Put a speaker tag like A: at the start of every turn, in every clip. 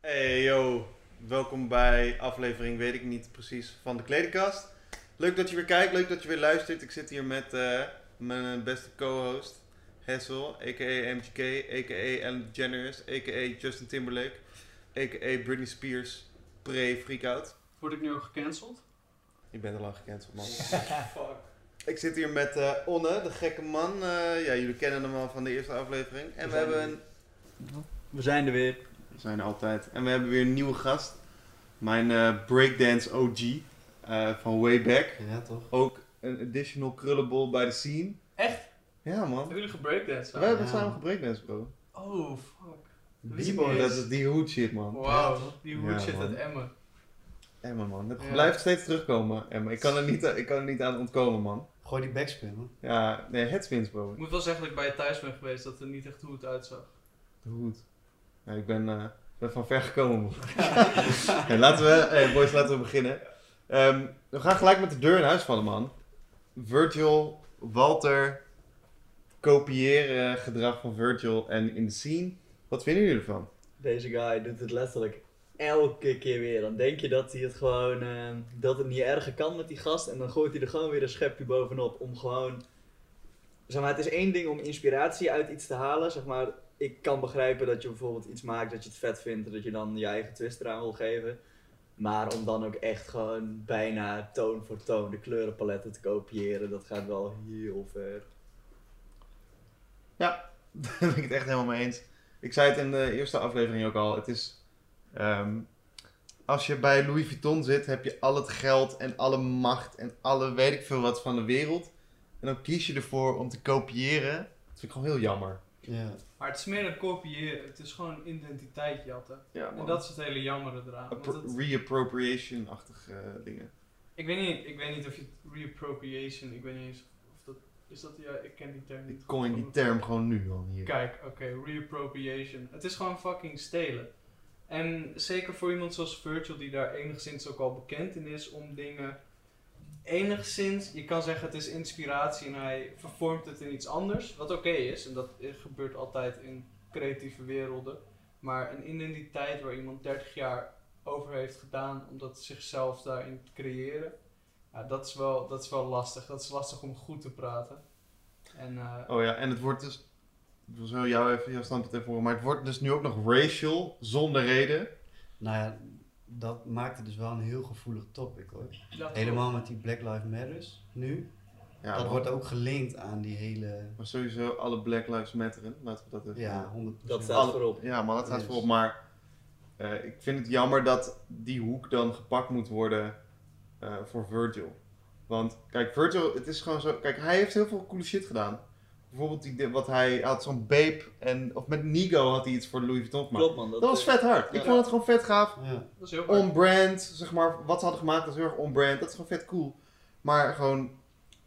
A: Hey yo, welkom bij aflevering weet ik niet precies van de Kledenkast. Leuk dat je weer kijkt, leuk dat je weer luistert. Ik zit hier met eh, mijn beste co-host Hessel, a.k.a. MGK, a.k.a. Ellen DeGeneres, a.k.a. Justin Timberlake, a.k.a. Britney Spears, pre-freakout.
B: Word ik nu ook gecanceld?
A: Ik ben al lang gecanceld man.
B: Fuck.
A: Ik zit hier met eh, Onne, de gekke man. Eh, ja, jullie kennen hem al van de eerste aflevering. En we
C: zijn
A: hebben
C: er.
A: een
C: We zijn er weer.
A: We zijn er altijd. En we hebben weer een nieuwe gast. Mijn eh, breakdance OG eh, van Wayback.
C: Ja, toch?
A: Ook een additional krullenbol bij de scene.
B: Echt?
A: Ja man.
B: Hebben jullie gebreakdanced?
A: Wij hebben
C: Ja.
A: samen gebreakdance bro.
B: Oh, fuck. Wist
A: Die
B: ik niet
A: man, dat
B: eens.
A: is die hoed shit man.
B: Wauw, die hoed
A: Ja,
B: shit
A: man.
B: uit Emmen.
A: Emma man, het
B: Ja.
A: blijft steeds terugkomen. Emma, ik kan er niet, eh, ik kan er niet aan ontkomen man.
C: Gooi die backspin. man.
A: Ja, nee, headspins bro.
B: Ik moet wel zeggen dat ik bij je thuis ben geweest, dat er niet echt hoe het uitzag.
A: De hoed. Ja, ik ben, eh, ben van ver gekomen man. Hey, laten we, hey, boys, laten we beginnen. Ehm, we gaan gelijk met de deur in huis vallen, man. Virgil, Walter, kopiëren eh, gedrag van Virgil en in de scene. Wat vinden jullie ervan?
D: Deze guy doet het letterlijk elke keer weer. Dan denk je dat hij het gewoon, eh, dat het niet erger kan met die gast. En dan gooit hij er gewoon weer een schepje bovenop om gewoon... Zeg maar, het is één ding om inspiratie uit iets te halen, zeg maar. Ik kan begrijpen dat je bijvoorbeeld iets maakt dat je het vet vindt en dat je dan je eigen twist eraan wil geven. Maar om dan ook echt gewoon bijna toon voor toon de kleurenpaletten te kopiëren, dat gaat wel heel ver.
A: Daar ben ik het echt helemaal mee eens. Ik zei het in de eerste aflevering ook al. Het is. ehm, als je bij Louis Vuitton zit, heb je al het geld en alle macht en alle weet ik veel wat van de wereld. En dan kies je ervoor om te kopiëren. Dat vind ik gewoon heel jammer.
C: Ja.
B: Maar het is meer een kopiëren, het is gewoon identiteit jatten.
A: Ja,
B: En dat is het hele jammere eraan. Want het-
A: Reappropriation-achtige eh, dingen.
B: ik, weet niet, ik weet niet of je het reappropriation, ik weet niet eens of dat... Is dat, ja, ik ken die term niet.
A: Ik coin die term gewoon nu al hier.
B: Kijk, oké, reappropriation. Het is gewoon fucking stelen. En zeker voor iemand zoals Virgil, die daar enigszins ook al bekend in is, om dingen enigszins, je kan zeggen het is inspiratie en hij vervormt het in iets anders, wat oké is. En dat gebeurt altijd in creatieve werelden. Maar een identiteit waar iemand 30 jaar over heeft gedaan om dat zichzelf daarin te creëren, ja, dat, is wel, dat is wel lastig. Dat is lastig om goed te praten. En, eh,
A: Oh ja, en het wordt dus... Ik wil zo jou even, jouw standpunt even horen. Maar het wordt dus nu ook nog racial, zonder reden.
C: Nou ja, dat maakt het dus wel een heel gevoelig topic hoor.
B: dat-
C: Helemaal met die Black Lives Matters nu.
A: Ja,
C: dat
A: maar,
C: wordt ook gelinkt aan die hele...
A: maar sowieso alle Black Lives Matteren. Laten we dat even...
C: Ja, 100%.
D: Dat staat
A: Alle-
D: voorop.
A: Ja, maar dat staat
C: Yes.
A: voorop. Maar eh, ik vind het jammer dat die hoek dan gepakt moet worden eh, voor Virgil. Want kijk, Virgil, het is gewoon zo. Kijk, hij heeft heel veel coole shit gedaan. Bijvoorbeeld die, de- wat hij hij had zo'n babe en of met Nigo had hij iets voor Louis Vuitton gemaakt.
D: Klopt man.
A: Dat was
D: eh,
A: vet hard. Ik
D: ja.
A: vond het gewoon vet gaaf.
C: Ja.
B: Dat is heel hard.
A: On-brand, zeg maar. Wat ze hadden gemaakt was heel erg on-brand. Dat is gewoon vet cool. Maar gewoon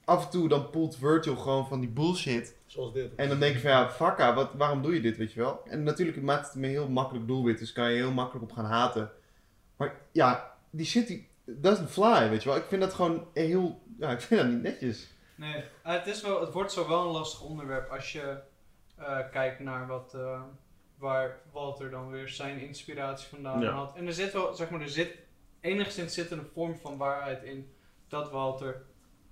A: af en toe dan poelt Virgil gewoon van die bullshit.
D: Zoals dit.
A: En dan denk je van ja, fakka, wat, waarom doe je dit, weet je wel? En natuurlijk maakt het me heel makkelijk doelwit, dus kan je heel makkelijk op gaan haten. Maar ja, die shit, die doesn't fly, weet je wel? Ik vind dat gewoon heel, ja, ik vind dat niet netjes.
B: Nee, eh, het, is wel, het wordt zo wel een lastig onderwerp als je eh, kijkt naar wat, eh, waar Walter dan weer zijn inspiratie vandaan
A: Ja.
B: had. En er zit wel, zeg maar, er zit enigszins zit er een vorm van waarheid in dat Walter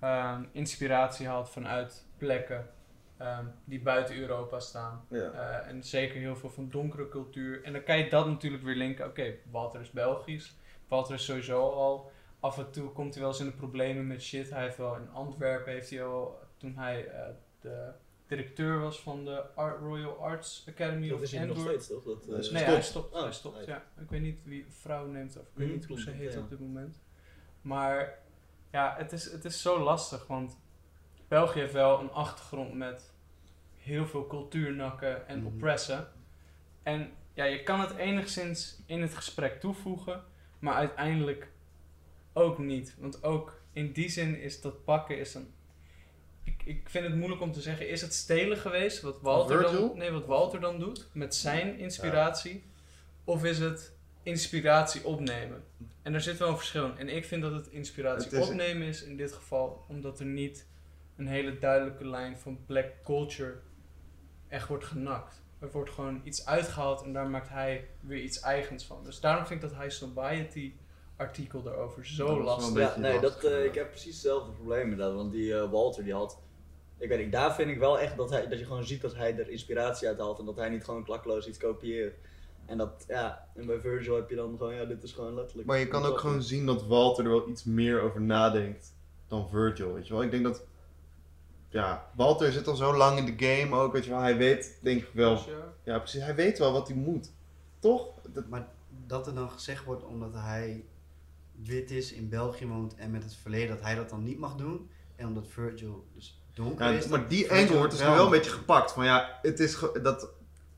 B: ehm, inspiratie had vanuit plekken ehm, die buiten Europa staan.
A: Ja.
B: Eh, en zeker heel veel van donkere cultuur. En dan kan je dat natuurlijk weer linken. Oké, Walter is Belgisch. Walter is sowieso al. Af en toe komt hij wel eens in de problemen met shit. Hij heeft wel in Antwerpen, heeft hij al, toen hij eh, de directeur was van de Art- Royal Arts Academy
D: Dat
B: of
D: is hier nog
B: Antwerpen.
D: steeds toch? Dat, eh,
A: Nee,
B: Nee,
A: Stop.
B: hij stopt.
D: Oh,
B: hij stopt,
D: nee.
B: ja. Ik weet niet wie vrouw neemt of ik weet
D: Hmm,
B: niet hoe ze
D: klopt,
B: heet
D: ja.
B: op dit moment. Maar ja, het is, het is zo lastig, want België heeft wel een achtergrond met heel veel cultuurnakken en
C: Mhm.
B: oppressen. En ja, je kan het enigszins in het gesprek toevoegen, maar uiteindelijk ook niet. Want ook in die zin is dat pakken is een... Ik, ik vind het moeilijk om te zeggen, is het stelen geweest? Wat Walter,
A: Virgil?
B: dan, nee, wat Walter dan doet met zijn inspiratie. Of is het inspiratie opnemen? En er zit wel een verschil in. En ik vind dat het inspiratie
A: Het is-
B: opnemen is in dit geval, omdat er niet een hele duidelijke lijn van black culture echt wordt genakt. Er wordt gewoon iets uitgehaald en daar maakt hij weer iets eigens van. Dus daarom vind ik dat hij Sobriety artikel daarover
A: Dat
B: zo
A: was wel
B: lastig.
A: een
D: Ja,
A: beetje
D: nee, dat,
A: lastig,
D: eh,
A: ja.
D: ik heb precies hetzelfde probleem inderdaad. Want die eh, Walter die had. Ik weet niet, daar vind ik wel echt dat, hij, dat je gewoon ziet dat hij er inspiratie uit haalt. En dat hij niet gewoon klakkeloos iets kopieert. En dat, ja, en bij Virgil heb je dan gewoon, ja, dit is gewoon letterlijk.
A: Maar je kan ook gewoon zien dat Walter er wel iets meer over nadenkt dan Virgil, weet je wel. Ik denk dat, ja, Walter zit al zo lang in de game ook, weet je wel. Hij weet, denk ik wel,
B: Dus ja,
A: ja precies, hij weet wel wat hij moet. Toch? Dat-
C: Maar dat er dan gezegd wordt omdat hij wit is, in België woont en met het verleden dat hij dat dan niet mag doen. En omdat Virgil dus donker
A: ja,
C: is.
A: maar
C: dat
A: die
C: Virgil
A: angle wordt dus
C: het
A: nu wel een beetje gepakt. Van ja, het is ge- dat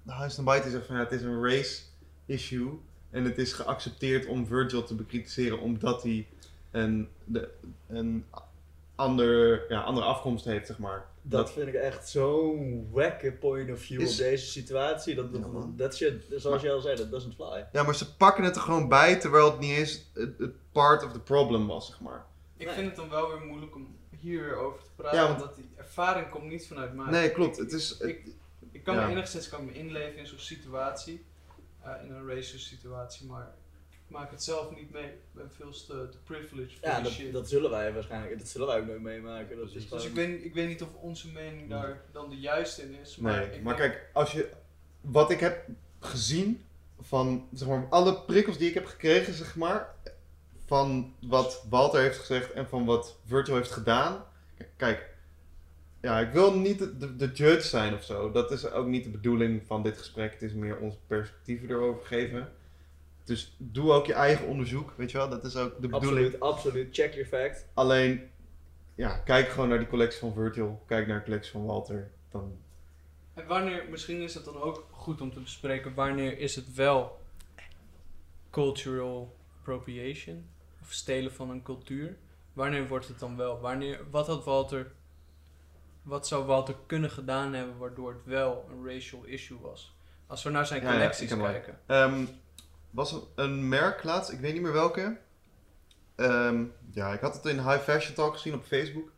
A: House and Bite zegt van ja, het is een race issue. En het is geaccepteerd om Virgil te bekritiseren omdat hij een, de, een ander, ja, andere afkomst heeft, zeg maar.
D: Dat vind ik echt zo'n wekke point of view
A: Is-
D: op deze situatie. Dat,
A: Ja, man.
D: dat, dat shit, zoals
A: Maar-
D: je al zei, dat doesn't fly.
A: Ja, maar ze pakken het er gewoon bij, terwijl het niet eens het, het part of the problem was, zeg maar.
B: ik
D: Nee.
B: vind het dan wel weer moeilijk om hier weer over te praten.
A: Ja, want-
B: omdat die ervaring komt niet vanuit mij.
A: Nee, klopt.
B: Ik-
A: Het is, het-
B: ik, ik kan
A: ja.
B: me enigszins kan ik me inleven in zo'n situatie, eh, in een racist situatie, maar ik maak het zelf niet mee. Ik ben veel te, te privileged voor
D: Ja,
B: die
D: dat,
B: shit.
D: dat zullen wij waarschijnlijk, dat zullen wij ook nooit meemaken. Dat is
C: Precies.
D: gewoon...
B: dus ik weet, ik weet niet of onze mening daar dan de juiste in is. Maar,
A: Nee,
B: ik
A: maar
B: denk-
A: kijk, als je, wat ik heb gezien van zeg maar, alle prikkels die ik heb gekregen, zeg maar, van wat Walter heeft gezegd en van wat Virgil heeft gedaan. K- Kijk, ja, ik wil niet de, de, de judge zijn of zo. Dat is ook niet de bedoeling van dit gesprek. Het is meer onze perspectieven erover geven. Dus doe ook je eigen onderzoek, weet je wel. Dat is ook de bedoeling.
D: Absoluut, absoluut. Check your fact.
A: Alleen, ja, kijk gewoon naar die collectie van Virgil. Kijk naar de collectie van Walter. Dan
B: En wanneer, misschien is het dan ook goed om te bespreken, wanneer is het wel cultural appropriation? Of stelen van een cultuur? Wanneer wordt het dan wel? Wanneer, wat had Walter, wat zou Walter kunnen gedaan hebben waardoor het wel een racial issue was? Als we naar zijn
A: Ja, ja,
B: collecties
A: ik heb wel-
B: kijken.
A: Ehm, was een- een merk laatst, ik weet niet meer welke. Ehm, ja, ik had het in High Fashion Talk gezien op Facebook.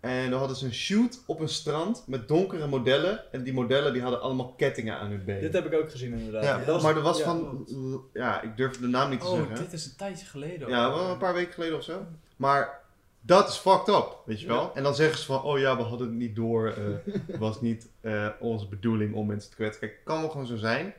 A: En dan hadden ze een shoot op een strand met donkere modellen. En die modellen die hadden allemaal kettingen aan hun benen.
D: Dit heb ik ook gezien inderdaad.
A: ja,
D: Dat was-
A: maar er was
D: ja,
A: van... Ja, ik durf de naam niet te
B: Oh,
A: zeggen.
B: dit is een tijdje geleden.
A: Ja, wel een paar weken geleden of zo. Maar dat is fucked up, weet je wel. En dan zeggen ze van, oh ja, we hadden het niet door. eh, Het was niet eh, onze bedoeling om mensen te kwetsen. Kijk, het kan wel gewoon zo zijn.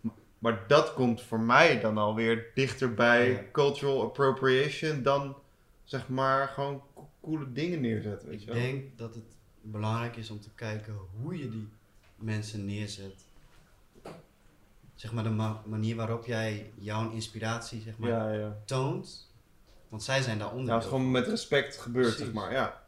A: M- Maar dat komt voor mij dan alweer dichter bij
C: Ja.
A: cultural appropriation dan zeg maar gewoon co- coole dingen neerzetten, weet
C: Ik
A: je wel.
C: denk dat het belangrijk is om te kijken hoe je die mensen neerzet. Zeg maar de ma- manier waarop jij jouw inspiratie zeg maar,
A: Ja, ja.
C: toont. Want zij zijn daaronder.
A: Nou, het is gewoon met respect gebeurd,
B: Precies.
A: zeg maar. Ja, daar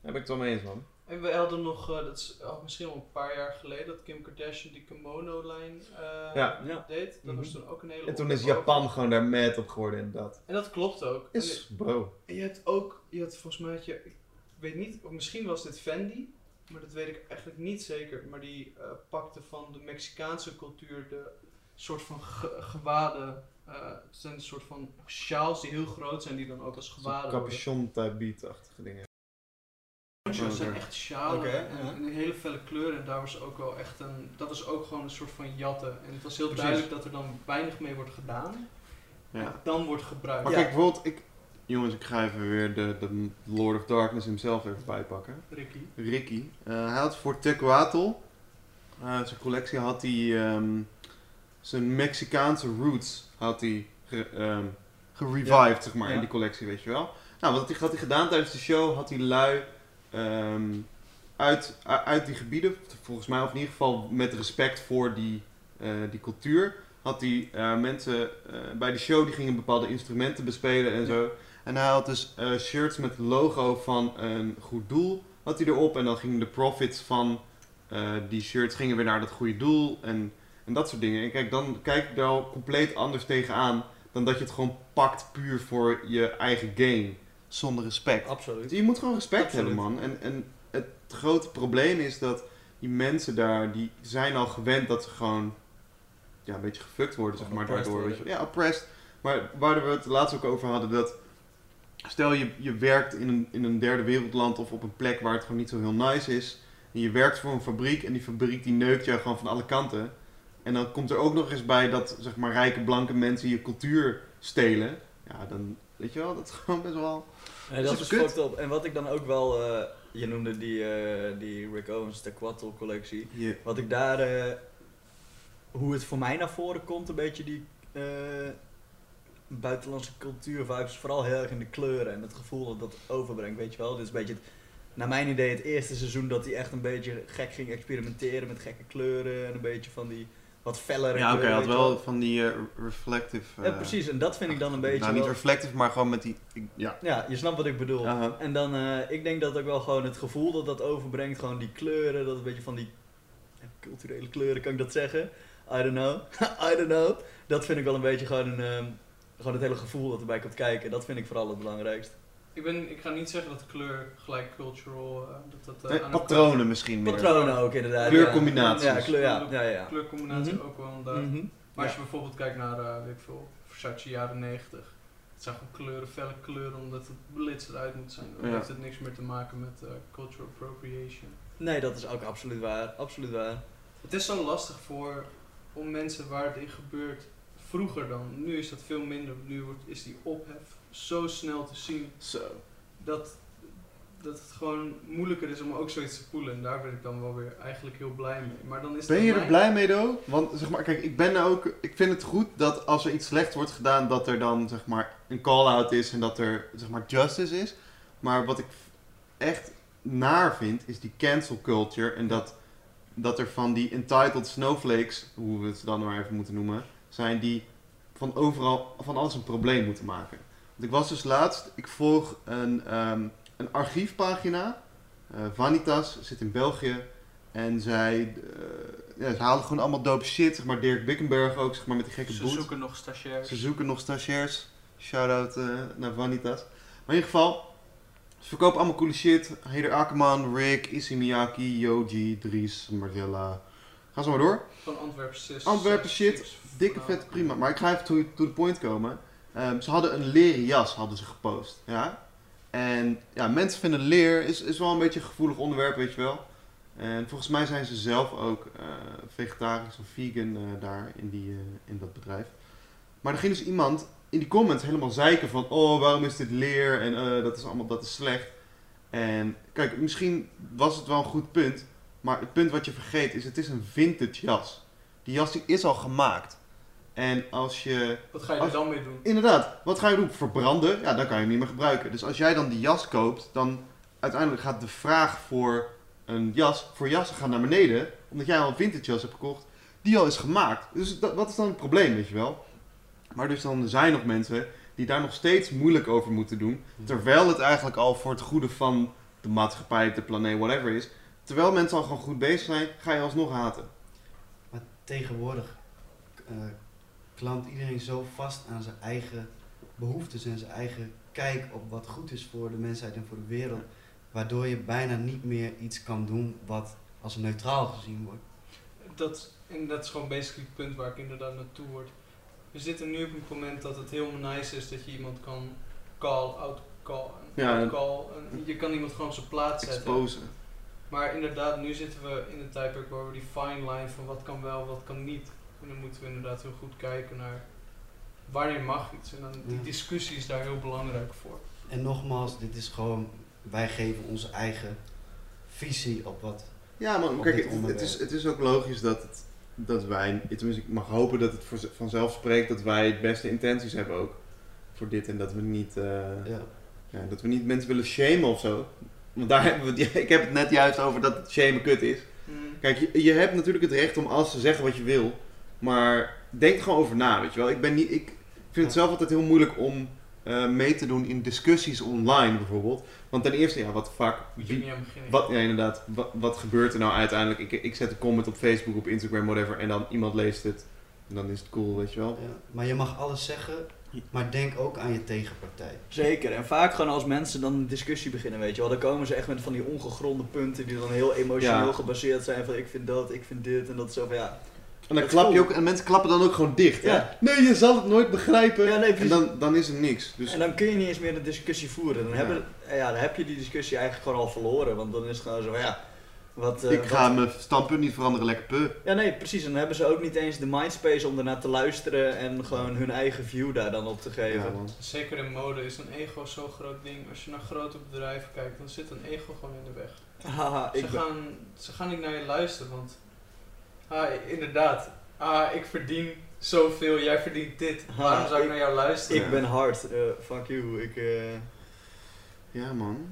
A: ben ik het wel mee eens, man.
B: En we hadden nog, eh, dat is al misschien al een paar jaar geleden, dat Kim Kardashian die kimono-lijn eh,
A: Ja.
D: Ja.
B: deed. Dat was
D: Mhm.
B: toen ook een hele
A: En toen is
B: ophef over.
A: Japan gewoon daar mad op geworden, inderdaad.
B: En dat klopt ook. En-
A: Is, bro.
B: En je hebt ook, je had volgens mij, had je, ik weet niet, of misschien was dit Fendi, maar dat weet ik eigenlijk niet zeker. Maar die eh, pakte van de Mexicaanse cultuur de soort van ge- gewaden. eh, het zijn een soort van sjaals die heel groot zijn, die dan ook als gewaden worden.
A: Capuchon-type beat-achtige dingen.
B: Poncho's zijn
A: Oké.
B: echt sjalen
D: Oké,
B: en,
D: ja.
B: en een hele felle kleuren. En daar was ook wel echt een, dat was ook gewoon een soort van jatten. En het was heel
A: Precies.
B: duidelijk dat er dan weinig mee wordt gedaan.
A: Ja.
B: En dan wordt gebruikt.
A: Maar
D: Ja.
A: kijk, bijvoorbeeld, ik... Jongens, ik ga even weer de, de Lord of Darkness hemzelf even bijpakken.
B: Ricky.
A: Ricky. eh, hij had voor Tecuatel, eh, zijn collectie, had hij ehm, zijn Mexicaanse roots had hij ge, ehm, gerevived, zeg maar,
D: Ja.
A: in die collectie, weet je wel. Nou, wat had hij, had hij gedaan tijdens de show? Had hij lui ehm, uit, u- uit die gebieden, volgens mij, of in ieder geval met respect voor die, eh, die cultuur, had hij eh, mensen eh, bij de show die gingen bepaalde instrumenten bespelen en zo. En hij had dus eh, shirts met het logo van een goed doel, had hij erop. En dan gingen de profits van eh, die shirts gingen weer naar dat goede doel en, en dat soort dingen. En kijk, dan kijk ik daar al compleet anders tegenaan dan dat je het gewoon pakt puur voor je eigen game. Zonder respect.
D: Absoluut.
A: Je moet gewoon respect
D: Absoluut.
A: hebben, man. En, en het grote probleem is dat die mensen daar, die zijn al gewend dat ze gewoon ja, een beetje gefukt worden, zeg
D: Gewoon
A: maar,
D: oppressed
A: daardoor. Weet je.
D: worden.
A: Ja, oppressed. Maar waar we het laatst ook over hadden, dat stel je, je werkt in een, in een derde wereldland of op een plek waar het gewoon niet zo heel nice is. En je werkt voor een fabriek en die fabriek die neukt jou gewoon van alle kanten. En dan komt er ook nog eens bij dat zeg maar rijke blanke mensen je cultuur stelen. Ja, dan weet je wel, dat is gewoon best wel.
D: Nee,
A: Dat
D: dat
A: is
D: is
A: kut.
D: fucked up. En wat ik dan ook wel... eh, je noemde die, eh, die Rick Owens, de Quattle collectie.
A: Je,
D: Wat ik daar... eh, hoe het voor mij naar voren komt, een beetje die... eh, buitenlandse cultuurvibes. Vooral heel erg in de kleuren en het gevoel dat dat overbrengt, weet je wel. Dit is een beetje... het- naar mijn idee het eerste seizoen dat hij echt een beetje gek ging experimenteren met gekke kleuren. En een beetje van die wat fellere
A: ja, oké,
D: kleuren,
A: had
D: weet je wel.
A: wel van die eh, reflective.
D: Ja,
A: eh,
D: precies. En dat vind ik dan een beetje...
A: Nou, niet
D: wel-
A: reflective, maar gewoon met die. ik- ja.
D: ja, je snapt wat ik bedoel.
A: Aha.
D: En dan, eh, ik denk dat ook wel gewoon het gevoel dat dat overbrengt, gewoon die kleuren, dat een beetje van die ja, culturele kleuren, kan ik dat zeggen? I don't know. I don't know. Dat vind ik wel een beetje gewoon, een, ehm, gewoon het hele gevoel dat erbij komt kijken. Dat vind ik vooral het belangrijkst.
B: Ik, ben, ik ga niet zeggen dat kleur gelijk cultural... eh, dat dat, eh,
A: Nee,
B: aan elkaar-
A: patronen misschien meer.
D: Patronen ook inderdaad.
A: Kleurcombinaties.
D: Ja, ja, kleur, ja. ja, ja.
B: Kleurcombinatie
D: Mhm.
B: ook wel inderdaad.
D: Mhm.
B: Maar als
D: Ja.
B: je bijvoorbeeld kijkt naar, eh weet ik veel, Versace jaren 90. Het zijn gewoon kleuren, felle kleuren, omdat het blitzend uit moet zijn. Dan
A: Ja.
B: heeft het niks meer te maken met eh, cultural appropriation.
D: Nee, dat is ook absoluut waar. Absoluut waar.
B: Het is zo lastig voor om mensen waar het in gebeurt vroeger dan. Nu is dat veel minder. Nu wordt, is die ophef zo snel te zien
A: Zo.
B: dat, dat het gewoon moeilijker is om ook zoiets te voelen. En daar ben ik dan wel weer eigenlijk heel blij mee. Maar dan is
A: Ben
B: dat
A: je er
B: mijn-
A: blij mee, Do? Want zeg maar, kijk, ik ben nou ook. Ik vind het goed dat als er iets slecht wordt gedaan, dat er dan zeg maar een call-out is en dat er zeg maar justice is. Maar wat ik echt naar vind, is die cancel culture en dat, dat er van die entitled snowflakes, hoe we het ze dan maar even moeten noemen, zijn die van overal, van alles een probleem moeten maken. Want ik was dus laatst, ik volg een, ehm, een archiefpagina. Eh, Vanitas zit in België. En zij, eh, ja, ze halen gewoon allemaal dope shit. Zeg maar Dirk Bickenberg ook, zeg maar met die gekke
B: Ze
A: boot.
B: zoeken nog stagiairs.
A: Ze zoeken nog stagiairs. Shout-out eh, naar Vanitas. Maar in ieder geval, ze verkopen allemaal coole shit. Heder Akerman, Rick, Issey Miyake, Yoji, Dries, Margella. Ga zo maar door.
B: Van Antwerpen sis.
A: Antwerpen
B: sis,
A: shit,
B: sis,
A: Dikke
B: vrouw.
A: vet, prima. Maar ik ga even to, to the point komen. Ehm, ze hadden een leren jas hadden ze gepost. Ja? En ja, mensen vinden leer is, is wel een beetje een gevoelig onderwerp, weet je wel. En volgens mij zijn ze zelf ook eh, vegetarisch of vegan eh, daar in, die, eh, in dat bedrijf. Maar er ging dus iemand in die comments helemaal zeiken van... Oh, waarom is dit leer? En eh, dat is allemaal dat is slecht. En kijk, misschien was het wel een goed punt. Maar het punt wat je vergeet is, het is een vintage jas. Die jas die is al gemaakt. En als je...
B: Wat ga je er
A: Als-
B: dan mee doen?
A: Inderdaad, wat ga je doen? Verbranden? Ja, dan kan je hem niet meer gebruiken. Dus als jij dan die jas koopt, dan uiteindelijk gaat de vraag voor een jas, voor jassen gaan naar beneden. Omdat jij al een vintage jas hebt gekocht, die al is gemaakt. Dus dat, wat is dan het probleem, weet je wel? Maar dus dan zijn nog mensen die daar nog steeds moeilijk over moeten doen. Terwijl het eigenlijk al voor het goede van de maatschappij, de planeet, whatever is. Terwijl mensen al gewoon goed bezig zijn, ga je alsnog haten.
C: Maar tegenwoordig eh klampt iedereen zo vast aan zijn eigen behoeftes en zijn eigen kijk op wat goed is voor de mensheid en voor de wereld. Waardoor je bijna niet meer iets kan doen wat als neutraal gezien wordt.
B: Dat, en dat is gewoon basically het punt waar ik inderdaad naartoe word. We zitten nu op het moment dat het heel nice is dat je iemand kan call, out call,
A: Ja,
B: out call. En je kan iemand gewoon op zijn plaats zetten.
A: Exposen.
B: Maar inderdaad, nu zitten we in een tijdperk waar we die fine line van wat kan wel, wat kan niet. En dan moeten we inderdaad heel goed kijken naar wanneer mag iets. En dan die
C: Ja.
B: discussie is daar heel belangrijk voor.
C: En nogmaals, dit is gewoon, wij geven onze eigen visie op wat.
A: Ja, maar
C: op
A: kijk,
C: dit
A: het,
C: onderwerp.
A: het, is, het is ook logisch dat, het, dat wij, tenminste ik mag hopen dat het voor, vanzelf spreekt dat wij het beste intenties hebben ook voor dit en dat we niet, eh, ja.
C: Ja.
A: dat we niet mensen willen shamen of zo. Want daar hebben we, het- ik heb het net juist over dat het shamen kut is.
B: Mm.
A: Kijk, je, je hebt natuurlijk het recht om alles te zeggen wat je wil, maar denk er gewoon over na, weet je wel. Ik, ben niet, ik vind het zelf altijd heel moeilijk om eh, mee te doen in discussies online bijvoorbeeld. Want ten eerste, ja, wat de fuck,
B: Moet je
A: wie-
B: niet aan beginnen.
A: wat, ja, inderdaad. Wat, wat gebeurt er nou uiteindelijk? Ik, ik zet een comment op Facebook, op Instagram, whatever. En dan iemand leest het. En dan is het cool, weet je wel.
C: Ja, maar je mag alles zeggen, maar denk ook aan je tegenpartij.
D: Zeker. En vaak gewoon als mensen dan een discussie beginnen, weet je wel. Dan komen ze echt met van die ongegronde punten die dan heel emotioneel
A: Ja.
D: gebaseerd zijn. Van ik vind dat, ik vind dit en dat is zo van ja.
A: En
D: Dat
A: dan
D: is
A: klap je
D: cool.
A: ook. En mensen klappen dan ook gewoon dicht. hè?
D: Ja.
A: Nee, je zal het nooit begrijpen.
D: Ja, nee,
A: en
D: precies.
A: dan, dan is er niks. Dus
D: En dan kun je niet eens meer de discussie voeren. Dan,
A: Ja.
D: hebben, ja, dan heb je die discussie eigenlijk gewoon al verloren. Want dan is het gewoon zo van ja, Wat, eh,
A: ik
D: wat-
A: ga mijn standpunt niet veranderen, lekker puh.
D: Ja, nee, precies. En dan hebben ze ook niet eens de mindspace om ernaar te luisteren en gewoon hun eigen view daar dan op te
A: Ja,
D: geven.
A: man.
B: Zeker in mode is een ego zo'n groot ding. Als je naar grote bedrijven kijkt, dan zit een ego gewoon in de weg.
D: Haha,
B: Ze
D: ik ben...
B: gaan, ze gaan niet naar je luisteren, want ah, i- inderdaad, ah, ik verdien zoveel, jij verdient dit.
D: Ah,
B: Waarom zou ik,
D: ik-
B: naar jou luisteren?
D: Ik ben hard. Eh, fuck you. Ik, eh,
A: Ja, man.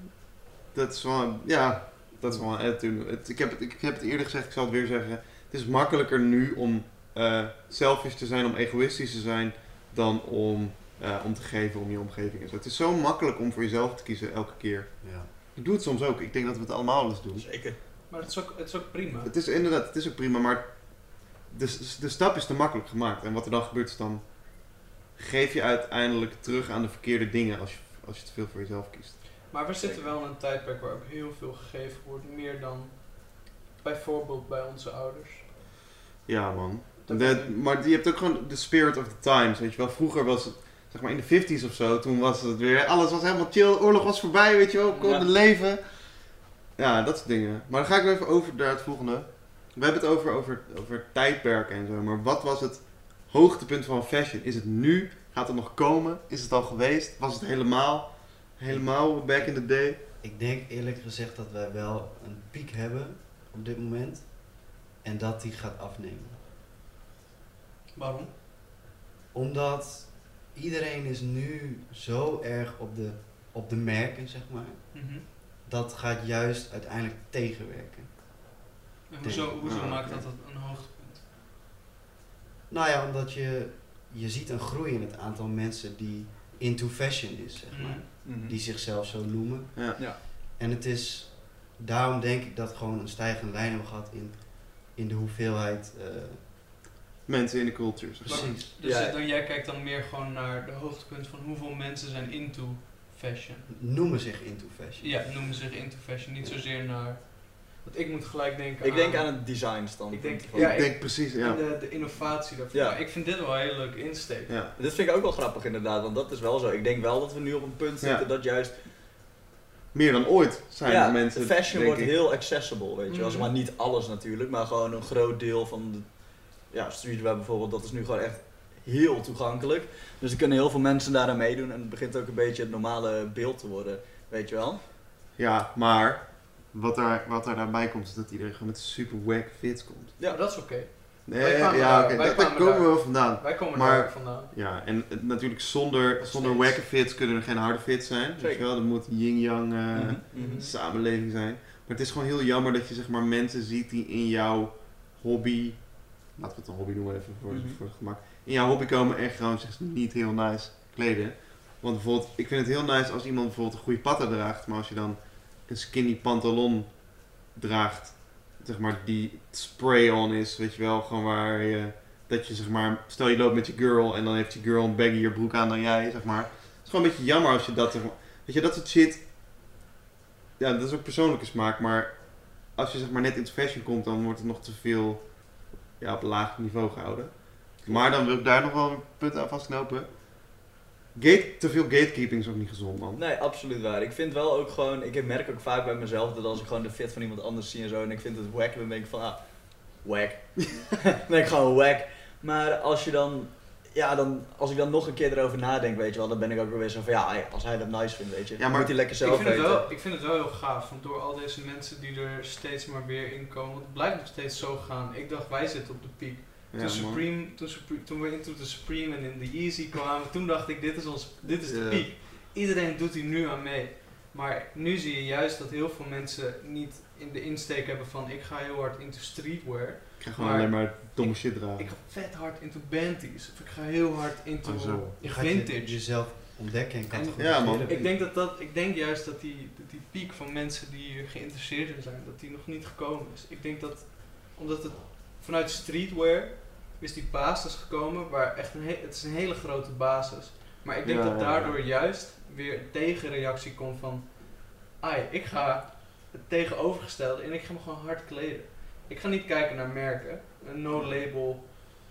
A: Dat is wel, ja, dat is wel een attitude. Het, ik, heb het, ik heb het eerder gezegd, ik zal het weer zeggen. Het is makkelijker nu om eh, selfish te zijn, om egoïstisch te zijn, dan om, eh, om te geven om je omgeving. en zo. Het is zo makkelijk om voor jezelf te kiezen elke keer.
C: Ja.
A: Ik doe het soms ook. Ik denk dat we het allemaal eens doen.
D: Zeker.
B: Maar het is ook, het is ook prima.
A: Het is inderdaad, het is ook prima, maar de, de stap is te makkelijk gemaakt. En wat er dan gebeurt is dan geef je uiteindelijk terug aan de verkeerde dingen als je, als je te veel voor jezelf kiest.
B: Maar we zitten wel in een tijdperk waar ook heel veel gegeven wordt, meer dan bijvoorbeeld bij onze ouders.
A: Ja, man.
B: Dat
A: De-
B: kan-
A: maar je hebt ook gewoon de spirit of the times, weet je wel. Vroeger was het, zeg maar in de 50s of zo, toen was het weer, alles was helemaal chill, oorlog was voorbij, weet je wel, we konden
D: Ja.
A: leven. Ja, dat soort dingen. Maar dan ga ik weer even over naar het volgende. We hebben het over, over, over tijdperken en zo, maar wat was het hoogtepunt van fashion? Is het nu? Gaat het nog komen? Is het al geweest? Was het helemaal, helemaal back in the day?
C: Ik denk eerlijk gezegd dat wij wel een piek hebben op dit moment. En dat die gaat afnemen.
B: Waarom?
C: Omdat iedereen is nu zo erg op de, op de merken, zeg maar. Dat gaat juist uiteindelijk tegenwerken.
B: En hoezo,
C: Denk-
B: hoezo
A: ah,
B: maakt
A: oké.
B: dat een hoogtepunt?
C: Nou ja, omdat je, je ziet een groei in het aantal mensen die into fashion is, zeg maar.
B: Mhm.
D: Mhm.
C: Die zichzelf zo noemen.
A: Ja.
D: Ja.
C: En het is, daarom denk ik dat gewoon een stijgende lijn hebben gehad in, in de hoeveelheid. eh,
A: Mensen in de culture, zeg maar.
C: precies.
B: Dus
D: Ja.
B: het- dan, jij kijkt dan meer gewoon naar de hoogtepunt van hoeveel mensen zijn into fashion.
C: Noemen zich into fashion.
B: Ja, noemen zich into fashion, niet zozeer naar... Want ik moet gelijk denken
D: Ik denk aan het design stand.
B: Ik denk-
D: van-
B: ja,
A: ik denk precies, ja.
B: en de, de innovatie daarvan.
D: Ja.
B: Maar Ik vind dit wel een heel leuk insteek.
A: ja.
D: Dit vind ik ook wel grappig inderdaad, want dat is wel zo. Ik denk wel dat we nu op een punt
A: Ja.
D: zitten dat juist...
A: Meer dan ooit zijn
D: ja,
A: er mensen,
D: de fashion
A: denk
D: wordt
A: ik.
D: heel accessible, weet je wel.
B: Mhm.
D: Maar niet alles natuurlijk, maar gewoon een groot deel van de... Ja, streetwear bijvoorbeeld, dat is nu gewoon echt heel toegankelijk. Dus er kunnen heel veel mensen daaraan meedoen en het begint ook een beetje het normale beeld te worden, weet je wel.
A: Ja, maar wat er, wat er daarbij komt is dat iedereen gewoon met super wack fits
D: Oh,
A: komt.
B: Ja, dat is oké.
A: Nee,
B: Wij kwamen
A: ja,
D: eh,
B: daar-
A: oké,
B: wij
A: dat- daar
B: kwamen
A: komen we
B: daar.
A: wel vandaan.
B: Wij komen
A: Maar-
B: daar ook vandaan.
A: Ja, en het- natuurlijk zonder, zonder
B: steeds.
A: wacke fits kunnen er geen harde fits zijn. Weet je
D: Zeker.
A: wel, er moet yin-yang eh,
D: Mhm, mhm.
A: samenleving zijn. Maar het is gewoon heel jammer dat je zeg maar mensen ziet die in jouw hobby, laten we het een hobby noemen even voor,
D: Mhm.
A: voor het gemak, in jouw hobby komen en gewoon zich niet heel nice kleden. Want bijvoorbeeld, ik vind het heel nice als iemand bijvoorbeeld een goede patta draagt, maar als je dan een skinny pantalon draagt, zeg maar die spray-on is, weet je wel, gewoon waar je, dat je zeg maar, stel je loopt met je girl en dan heeft je girl een baggier broek aan dan jij, zeg maar. Het is gewoon een beetje jammer als je dat, zeg maar, weet je, dat soort shit ja, dat is ook persoonlijke smaak, maar als je zeg maar net in fashion komt, dan wordt het nog te veel ja, op laag niveau gehouden. Maar dan wil ik daar nog wel een punt aan vastknopen. Gate, te veel gatekeeping is ook niet gezond, man.
D: Nee, absoluut waar. Ik vind wel ook gewoon, ik merk ook vaak bij mezelf dat als ik gewoon de fit van iemand anders zie en zo en ik vind het wack, dan denk ik van ah, wack. dan denk ik gewoon wack. Maar als je dan, ja, dan, als ik dan nog een keer erover nadenk, weet je wel, dan ben ik ook weer weer zo van ja, hey, als hij dat nice vindt, weet je,
A: Ja, maar-
D: moet hij lekker
B: Ik
D: zelf
B: vind, het
D: weten.
B: wel, ik vind het wel heel gaaf, want door al deze mensen die er steeds maar weer in komen, want het blijft nog steeds zo gaan. Ik dacht, wij zitten op de piek.
A: Ja,
B: toen,
A: man.
B: Supreme, toen, Supreme, toen we into the Supreme en in the Easy kwamen, toen dacht ik, dit is, ons, dit is de
A: Ja.
B: piek. Iedereen doet hier nu aan mee. Maar nu zie je juist dat heel veel mensen niet in de insteek hebben van ik ga heel hard into streetwear.
A: Ik ga gewoon
B: maar-
A: alleen maar domme shit dragen.
B: Ik ga vet hard into banties. Of ik ga heel hard into
A: Oh, zo.
C: Je gaat je-
B: vintage.
C: jezelf ontdekken en kan
B: En-
C: het goed
A: Ja, man.
C: verteren.
B: Ik denk, dat dat, ik denk juist dat die, dat die piek van mensen die hier geïnteresseerd in zijn, dat die nog niet gekomen is. Ik denk dat, omdat het vanuit streetwear is die basis gekomen, waar echt een, he- het is een hele grote basis. Maar ik denk
A: Ja, ja,
B: dat
A: ja.
B: daardoor juist weer een tegenreactie komt van, ai, ik ga het tegenovergestelde en ik ga me gewoon hard kleden. Ik ga niet kijken naar merken, een no-label,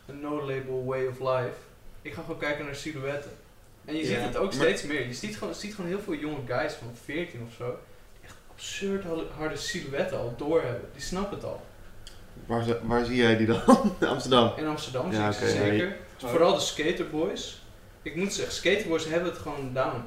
B: een no-label way of life. Ik ga gewoon kijken naar silhouetten. En je
D: Ja.
B: ziet het ook
A: Maar-
B: steeds meer. Je ziet gewoon, ziet gewoon heel veel jonge guys van 14 of zo. Die echt absurd hal- harde silhouetten al doorhebben. Die snappen het al.
A: Waar, ze- waar zie jij die dan? In Amsterdam.
B: In Amsterdam
A: Ja,
B: zie ik ze
A: oké, ja,
B: zeker. Vooral de skaterboys. Ik moet zeggen, skaterboys hebben het gewoon down.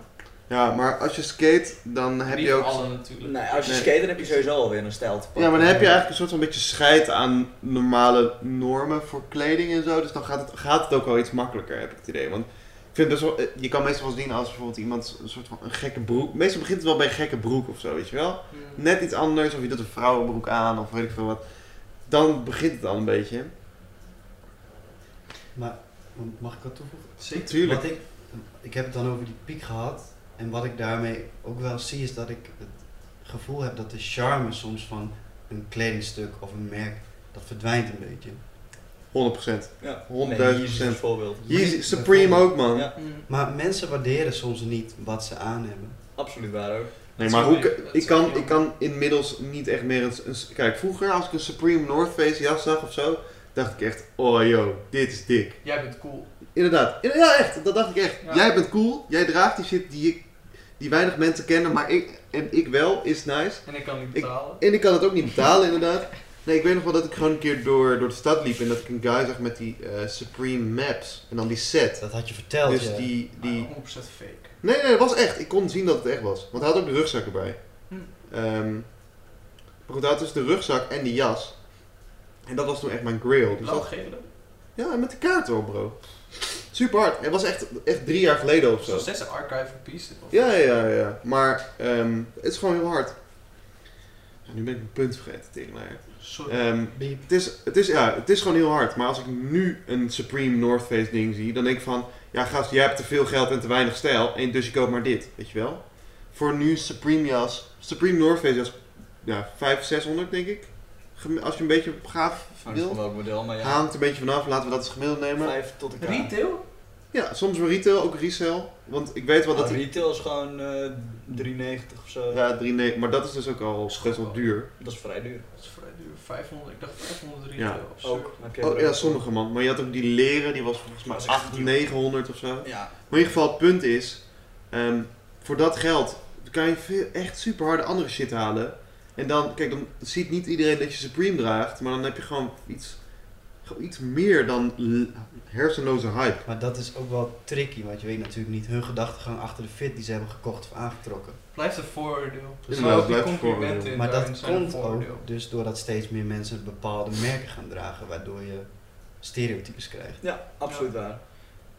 A: Ja, maar als je skate, dan heb
B: Niet
A: je ook...
B: alle natuurlijk.
D: Nee, als je
A: Nee.
D: skater dan heb je sowieso alweer een stijl te pakken.
A: Ja, maar dan heb je eigenlijk een soort van beetje scheid aan normale normen voor kleding en zo. Dus dan gaat het, gaat het ook wel iets makkelijker, heb ik het idee. Want ik vind het best wel, eh, je kan meestal wel zien als bijvoorbeeld iemand een soort van een gekke broek. Meestal begint het wel bij een gekke broek of zo, weet je wel.
B: Mm.
A: Net iets anders, of je doet een vrouwenbroek aan of weet ik veel wat. Dan begint het al een beetje.
C: Maar mag ik wat toevoegen?
B: Zeker.
A: Tuurlijk.
C: Wat ik, ik heb het dan over die piek gehad. En wat ik daarmee ook wel zie is dat ik het gevoel heb dat de charme soms van een kledingstuk of een merk, dat verdwijnt een beetje.
A: 100%.
D: Ja.
A: 100.000%.
D: Nee, hier is een voorbeeld.
A: Jezus, Supreme ook, man.
D: Ja.
B: Mm.
C: Maar mensen waarderen soms niet wat ze aan hebben.
D: Absoluut waar ook.
A: Nee,
B: Dat
A: maar
B: is
A: hoe,
B: wel
A: ik-
B: leuk. Dat
A: ik,
B: is
A: kan,
B: wel
A: ik kan inmiddels niet echt meer een, een- Kijk, vroeger als ik een Supreme North Face jas zag of zo, dacht ik echt, oh yo, dit is dik.
B: Jij bent cool.
A: Inderdaad, Inderdaad, ja echt, dat dacht ik echt.
B: Ja.
A: Jij bent cool, jij draagt die shit die, ik, die weinig mensen kennen, maar ik, en ik wel, is nice.
B: En ik kan niet
A: Ik-
B: betalen.
A: En ik kan het ook niet betalen, inderdaad. Nee, ik weet nog wel dat ik gewoon een keer door, door de stad liep en dat ik een guy zag met die eh, Supreme Maps en dan die set.
C: Dat had je verteld.
A: Dus
C: ja.
A: die, die,
B: Maar 100% Ah, fake.
A: Nee, nee, dat was echt. Ik kon zien dat het echt was. Want hij had ook de rugzak erbij.
B: Hm.
A: Ehm, maar goed, hij had dus de rugzak en die jas. En dat was toen echt mijn grail. Dus dat,
B: Blauw-gele.
A: ja, en met de kaart erop, bro. Super hard. Het was echt, echt drie jaar geleden of
B: Dat is
A: zo.
B: nog steeds een archive van Peace. dit, of-
A: Ja, ja, ja. ja. Maar ehm, het is gewoon heel hard. Ja, nu ben ik mijn punt vergeten tegen mij.
B: Sorry.
A: Ehm,
C: Beep.
A: het, is, het, is, ja, het is gewoon heel hard. Maar als ik nu een Supreme North Face ding zie, dan denk ik van... Ja, gast, jij hebt te veel geld en te weinig stijl. En dus je koopt maar dit, weet je wel? Voor nu Supreme jas... Supreme North Face jas... Ja, 500, 600 denk ik. Gem- Als je een beetje gaaf
D: Hangt
A: wil.
D: van welk model, maar ja.
A: Hangt een beetje vanaf. Laten we dat als gemiddelde nemen.
D: Vijf tot de kaart.
B: Retail?
A: Ja, soms wel retail, ook resell. Want ik weet wel
D: Ah,
A: dat... die-
D: retail is gewoon eh 3,90 of zo.
A: Ja, 3,9. Maar dat is dus ook al best wel duur.
D: Dat is vrij duur.
B: Dat is vrij duur. 500. Ik dacht 500 retail.
A: Ja.
B: absurd.
D: Ook. Heb jij
A: Oh,
D: er
A: ja,
D: ook
A: sommige man. Maar je had ook die leren, die was volgens mij
D: Dat was echt
A: 800,
D: duur.
A: 900 of zo.
D: voor? Ja.
A: Maar in ieder geval, het punt is, ehm, voor dat geld kan je veel, echt super harde andere shit halen. En dan, kijk, dan ziet niet iedereen dat je Supreme draagt, maar dan heb je gewoon iets, gewoon iets meer dan l- hersenloze hype.
C: Maar dat is ook wel tricky, want je weet natuurlijk niet hun gedachtegang achter de fit die ze hebben gekocht of aangetrokken.
B: Blijft een vooroordeel. Dus
A: Inderdaad,
B: ook die
A: blijft een
B: complimenten
A: vooroordeel.
B: in
C: maar
B: daarin
C: dat
B: zijn een
C: komt
B: vooroordeel.
C: ook dus doordat steeds meer mensen bepaalde merken gaan dragen, waardoor je stereotypes krijgt.
D: Ja, absoluut waar.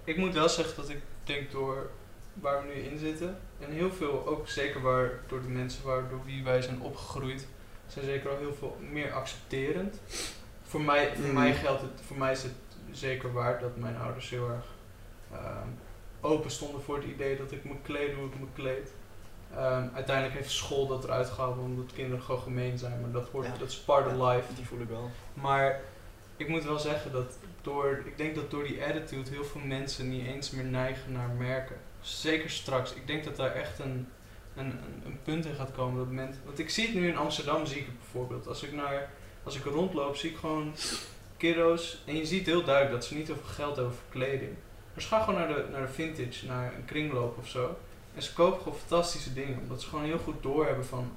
B: Ik moet wel zeggen dat ik denk door waar we nu in zitten. En heel veel, ook zeker waar, door de mensen waar, door wie wij zijn opgegroeid, zijn zeker al heel veel meer accepterend. Voor mij, voor
A: Mm.
B: mij geldt het, voor mij is het zeker waar dat mijn ouders heel erg ehm, open stonden voor het idee dat ik me kleed hoe ik me kleed. Ehm, uiteindelijk heeft school dat eruit gehouden omdat kinderen gewoon gemeen zijn, maar dat, hoort,
D: Ja.
B: dat is part of life.
D: Die voel ik wel.
B: Maar ik moet wel zeggen dat door, ik denk dat door die attitude heel veel mensen niet eens meer neigen naar merken. Zeker straks. Ik denk dat daar echt een, een, een- een punt in gaat komen. Dat men, want ik zie het nu in Amsterdam, zie ik het bijvoorbeeld. Als ik, naar, als ik rondloop, zie ik gewoon kiddo's. En je ziet heel duidelijk dat ze niet heel veel geld hebben voor kleding. Maar ze gaan gewoon naar de, naar de vintage, naar een kringloop of zo. En ze kopen gewoon fantastische dingen. Omdat ze gewoon heel goed doorhebben van...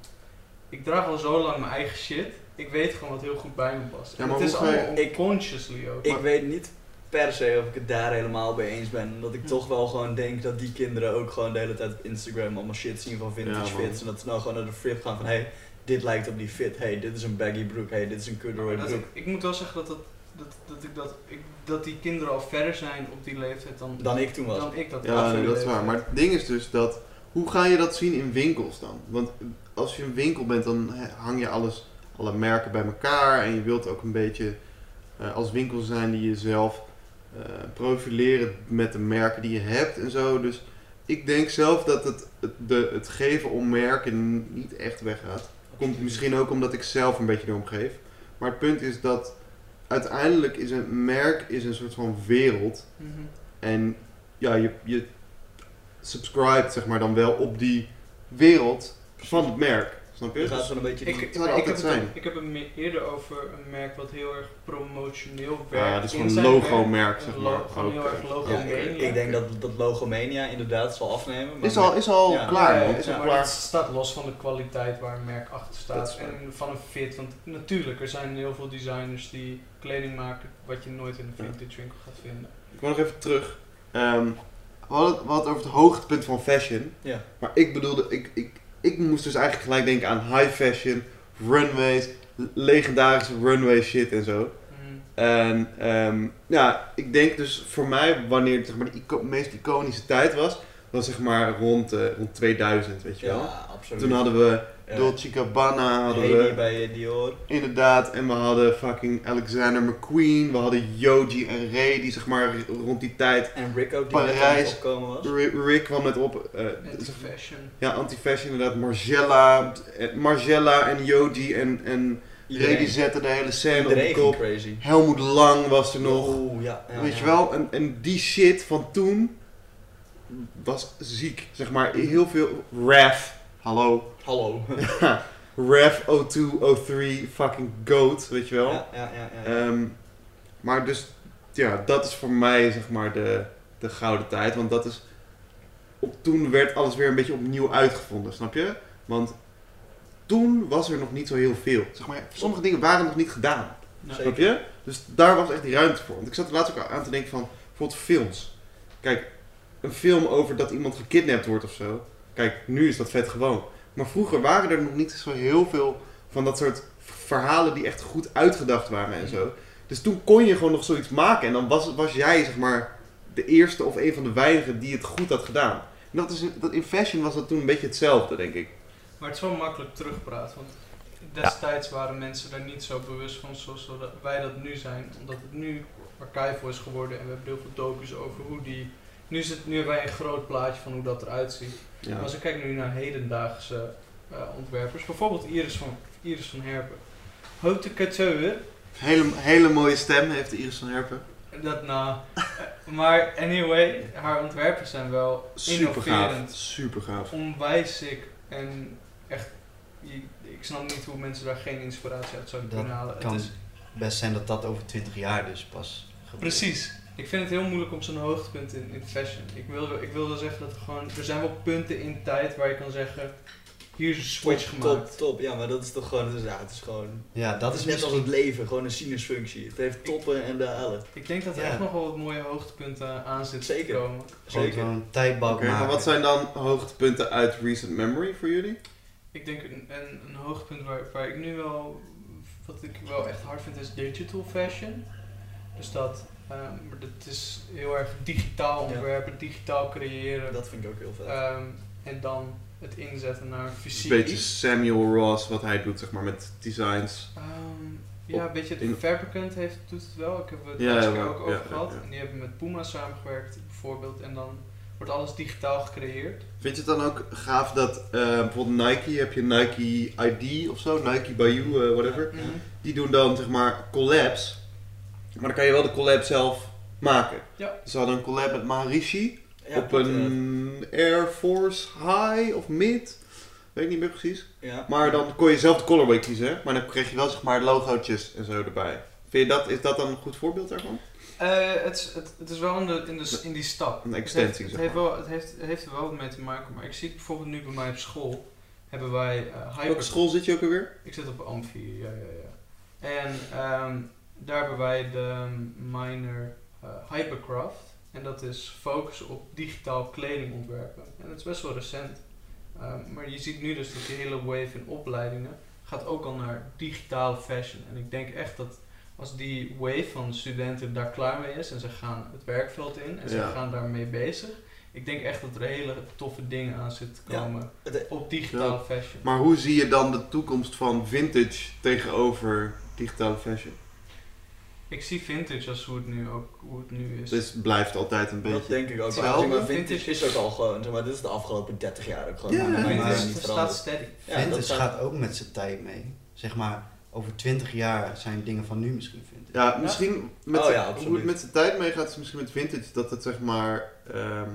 B: Ik draag al zo lang mijn eigen shit. Ik weet gewoon wat heel goed bij me past.
A: Ja,
B: En
A: maar
B: het is
A: hoe ga je-
B: allemaal
D: Ik-
B: unconsciously ook.
D: Ik weet niet per se of ik het daar helemaal mee eens ben. Omdat ik
B: Hm.
D: toch wel gewoon denk dat die kinderen ook gewoon de hele tijd op Instagram allemaal shit zien van vintage
A: Ja, man.
D: fits. En dat ze nou gewoon naar de flip gaan van hey, dit lijkt op die fit. Hey, dit is een baggy broek. Hey, dit is een corduroy
B: Dat-
D: broek.
B: ik moet wel zeggen dat, dat, dat, dat, ik, dat, ik, dat die kinderen al verder zijn op die leeftijd dan,
D: Dan ik toen was.
B: dan ik dat
A: Ja, nee,
B: absoluut
A: dat is
B: leeftijd.
A: waar. Maar het ding is dus dat, hoe ga je dat zien in winkels dan? Want als je een winkel bent, dan he- hang je alles, alle merken bij elkaar. En je wilt ook een beetje eh, als winkel zijn die jezelf eh, profileren met de merken die je hebt en zo. Dus ik denk zelf dat het, het, de, het geven om merken niet echt weggaat. Komt misschien ook omdat ik zelf een beetje erom geef. Maar het punt is dat uiteindelijk is een merk is een soort van wereld.
B: Mhm.
A: En ja, je, je subscribt zeg maar dan wel op die wereld van het merk. Snap je? Dus,
D: Je gaat gewoon een beetje...
B: Ik,
D: die-
B: ik,
A: zou er
B: ik,
A: altijd
B: heb
A: zijn.
B: het, ik heb het me- eerder over een merk wat heel erg promotioneel werkt.
A: Ja, dat ah, is
B: in
A: gewoon een
B: zijn werk.
A: logo-merk, zeg
B: Een
A: maar.
B: lo- gewoon heel
A: Oké.
B: erg logo
D: Ja, ik, ik denk dat, dat Logomania inderdaad zal afnemen. Maar
A: Is al, is al
D: Ja.
A: klaar, man.
B: het
A: Is al
B: maar het
A: klaar.
B: staat los van de kwaliteit waar een merk achter
D: Dat
B: staat
D: is waar.
B: en van een fit. Want natuurlijk, er zijn heel veel designers die kleding maken wat je nooit in
A: Ja.
B: een vintage winkel gaat vinden.
A: Ik wil nog even terug. Ehm, we, hadden het, we hadden het over het hoogtepunt van fashion.
D: Ja.
A: Maar ik bedoelde, ik, ik, ik moest dus eigenlijk gelijk denken aan high fashion, runways, le- legendarische runway shit en zo.
B: Mm.
A: En ehm, ja, ik denk dus voor mij, wanneer het, zeg maar, de ico- meest iconische tijd was, was zeg maar rond, eh, rond 2000, weet je
D: Ja,
A: wel.
D: absoluut.
A: Toen hadden we
D: Ja.
A: Dolce Gabbana, hadden
D: Haley
A: we
D: bij eh, Dior.
A: inderdaad, en we hadden fucking Alexander McQueen, we hadden Yogi en Ray, die zeg maar rond die tijd,
D: En Rico die
A: Parijs.
D: net aan het opkomen was.
A: Rick Rick kwam net op, eh,
B: En
A: zeg-
B: fashion.
A: ja, anti-fashion inderdaad, Margella, eh, Margella en Yogi en, en Ray die zetten de hele scène op de
D: Iedereen ging
A: kop.
D: crazy.
A: Helmoet Lang was er nog.
D: Oeh, ja, ja,
A: Weet je
D: ja.
A: wel, en, en die shit van toen was ziek. Zeg maar, heel veel ref. Hallo.
D: Hallo.
A: Ref 02, 03, fucking goat, weet je wel.
D: Ja, ja, ja, ja.
A: Ehm, maar dus, ja, dat is voor mij zeg maar de, de gouden tijd. Want dat is, op, toen werd alles weer een beetje opnieuw uitgevonden, snap je? Want toen was er nog niet zo heel veel. Zeg maar, sommige dingen waren nog niet gedaan.
B: Nou,
D: Zeker.
A: Snap je? Dus daar was echt die ruimte voor. Want ik zat er laatst ook aan te denken van, bijvoorbeeld films. Kijk, een film over dat iemand gekidnapt wordt of zo. Kijk, nu is dat vet gewoon. Maar vroeger waren er nog niet zo heel veel van dat soort verhalen die echt goed uitgedacht waren en zo. Dus toen kon je gewoon nog zoiets maken. En dan was, was jij, zeg maar, de eerste of een van de weinigen die het goed had gedaan. En dat is, dat in fashion was dat toen een beetje hetzelfde, denk ik.
B: Maar het is wel makkelijk terugpraat, want destijds waren mensen daar niet zo bewust van zoals we dat- wij dat nu zijn. Omdat het nu archival is geworden en we hebben heel veel docus over hoe die... Nu, is het, nu hebben wij een groot plaatje van hoe dat eruit ziet.
A: Ja.
B: Maar Als ik kijk nu naar hedendaagse eh, ontwerpers, bijvoorbeeld Iris van, Iris van Herpen. Haute couture,
A: Hele, hele mooie stem heeft Iris van Herpen.
B: dat nou... eh, maar anyway, haar ontwerpen zijn wel
A: Super gaaf.
B: innoverend.
A: Super gaaf.
B: onwijs sick en echt, je- ik snap niet hoe mensen daar geen inspiratie uit zouden
C: Dat
B: kunnen halen.
C: kan
B: Het is,
C: best zijn dat dat over 20 jaar dus pas gebeurt.
B: precies. Ik vind het heel moeilijk om zo'n hoogtepunt in, in fashion. Ik wil, ik wil wel zeggen dat er gewoon, er zijn wel punten in tijd waar je kan zeggen, hier is een switch
D: top,
B: gemaakt.
D: Top, top. Ja, maar dat is toch gewoon... Dus, ja, het is gewoon...
C: Ja, dat is
D: net als
C: misschien-
D: het leven. Gewoon een sinusfunctie. Het heeft toppen en dalen.
B: Ik denk dat er
C: Ja.
B: echt nog wel wat mooie hoogtepunten eh, aan zitten
D: Zeker.
B: te komen.
C: Gewoon
D: Zeker.
C: zo'n tijdbak
A: Oké,
C: maken.
A: maar wat zijn dan hoogtepunten uit recent memory voor jullie?
B: Ik denk een, een, een hoogtepunt waar, waar ik nu wel, wat ik wel echt hard vind, is digital fashion. Dus dat, ehm, maar dat is heel erg digitaal
D: Ja.
B: ontwerpen, digitaal
A: eh,
B: creëren.
D: Dat vind ik ook heel vet.
B: Ehm, en dan het inzetten naar fysiek.
A: Een beetje Samuel Ross, wat hij doet zeg maar, met designs.
B: Ehm, ja,
A: Op-
B: weet je,
A: in-
B: het Fabricant heeft, doet het wel. Ik heb het
A: Ja,
B: ja,
A: ja,
B: ook
A: ja,
B: over
A: ja,
B: gehad.
A: ja.
B: En die hebben met Puma samengewerkt, bijvoorbeeld. En dan wordt alles digitaal gecreëerd.
A: Vind je het dan ook gaaf dat eh, bijvoorbeeld Nike, heb je Nike ID of zo, Nike Bayou, eh, whatever.
B: Mhm.
A: Die doen dan zeg maar collabs, maar dan kan je wel de collab zelf maken.
B: Ja.
A: Ze hadden een collab met Maharishi
D: Ja,
A: op een Air Force High of Mid, weet ik niet meer precies.
D: eh, Ja.
A: Maar dan kon je zelf de colorway kiezen, hè? maar dan kreeg je wel zeg maar logootjes en zo erbij. Vind je dat, is dat dan een goed voorbeeld daarvan?
B: Eh, het, is- het, het is wel in, de, in, de, s- in die stap.
A: Een
B: Het
A: extensie,
B: heeft-
A: zeg
B: Het heeft, wel, het, heeft, het heeft er wel wat mee te maken. Maar ik zie het bijvoorbeeld nu bij mij op school. Hebben wij eh
A: Welke
B: hyper...
A: school zit je ook alweer?
B: Ik zit op Amfi, ja, ja, ja. En ehm, daar hebben wij de minor eh, Hypercraft. En dat is focus op digitaal kleding ontwerpen. En dat is best wel recent. Ehm, maar je ziet nu dus dat die hele wave in opleidingen gaat ook al naar digitale fashion. En ik denk echt dat als die wave van studenten daar klaar mee is en ze gaan het werkveld in en ze
A: Ja.
B: gaan daarmee bezig. Ik denk echt dat er hele toffe dingen aan zitten te
D: Ja.
B: komen
D: Het-
B: op digitale fashion.
A: Maar hoe zie je dan de toekomst van vintage tegenover digitale fashion?
B: Ik zie vintage als hoe het nu, ook, hoe het nu is.
A: Dus het blijft altijd een
D: Dat
A: beetje.
D: denk ik ook
B: Wel,
D: wel. Maar
B: maar
D: vintage
B: vintage
D: is ook al gewoon, zeg maar, dit is de afgelopen 30 jaar ook gewoon.
A: Ja,
D: maar dat
A: ja,
D: maakt
A: ja.
D: het
A: is-
B: Vintage
D: niet
B: staat
D: veranderen.
B: steady.
D: Ja,
C: vintage
D: dat zijn-
C: gaat ook met zijn tijd mee. Zeg maar, over 20 jaar zijn dingen van nu misschien vintage.
A: Ja, misschien met
D: Oh
A: z'n-
D: ja,
A: hoe
D: absoluut.
A: het met de tijd meegaat, is misschien met vintage dat het zeg maar. ehm,